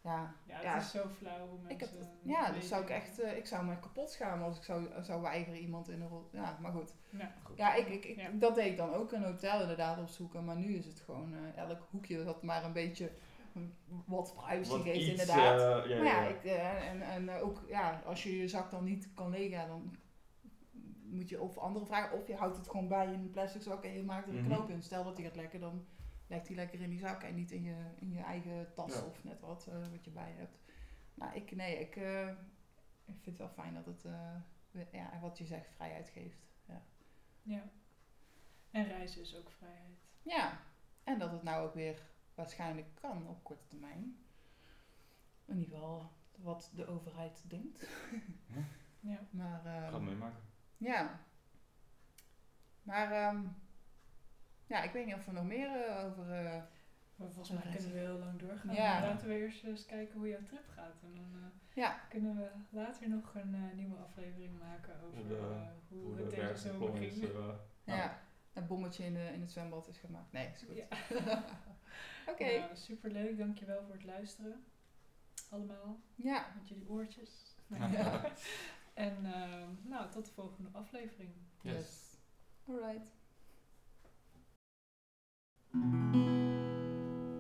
B: ja,
D: Ja, het
B: ja.
D: is zo flauw hoe mensen...
B: ik heb dat.
D: een
B: Ja,
D: beetje-
B: dus zou ik echt. eh, ik zou me kapot schamen als ik zou, zou weigeren iemand in een rol. Ja, maar goed.
D: Ja,
B: Ja, ik, ik, ik-
D: Ja.
B: dat deed ik dan ook een hotel inderdaad opzoeken. Maar nu is het gewoon eh, elk hoekje dat maar een beetje mm, wat privacy
A: Wat
B: geeft,
A: iets,
B: inderdaad.
A: eh, ja,
B: Maar
A: ja,
B: ja,
A: ja.
B: ik, eh, en, en eh, ook ja, als je je zak dan niet kan legen, dan moet je of andere vragen, of je houdt het gewoon bij in een plastic zak en je maakt er een
A: Mhm.
B: knoop in. Stel dat hij gaat lekken, dan lekt hij lekker in die zak en niet in je, in je eigen tas
A: Ja.
B: of net wat, eh, wat je bij hebt. Maar ik, nee, ik, eh, ik vind het wel fijn dat het, eh, we- ja, wat je zegt, vrijheid geeft. Ja.
D: Ja. En reizen is ook vrijheid.
B: ja, en dat het nou ook weer waarschijnlijk kan op korte termijn. In ieder geval wat de overheid denkt.
D: Ja.
B: Maar, ehm,
A: Gaan we meemaken.
B: Ja. Maar ehm, ja, ik weet niet of we nog meer eh, over... eh,
D: Maar volgens mij
B: Reizen.
D: kunnen we heel lang doorgaan.
B: Ja.
D: Maar Laten we eerst eens kijken hoe jouw trip gaat. En dan eh,
B: Ja.
D: kunnen we later nog een eh, nieuwe aflevering maken over
A: Hoe de-
D: eh, hoe,
A: Hoe
D: het
A: de
D: deze zomer
A: werkplan is.
D: ging.
A: eh,
B: ja.
A: Ja.
B: dat bommetje in, de, in het zwembad is gemaakt. Nee, is goed.
D: Ja.
B: Oké.
D: Nou, superleuk. Dankjewel voor het luisteren. Allemaal.
B: Ja.
D: Met jullie oortjes.
A: Ja.
D: en eh, nou, tot de volgende aflevering.
A: Yes.
B: Alright.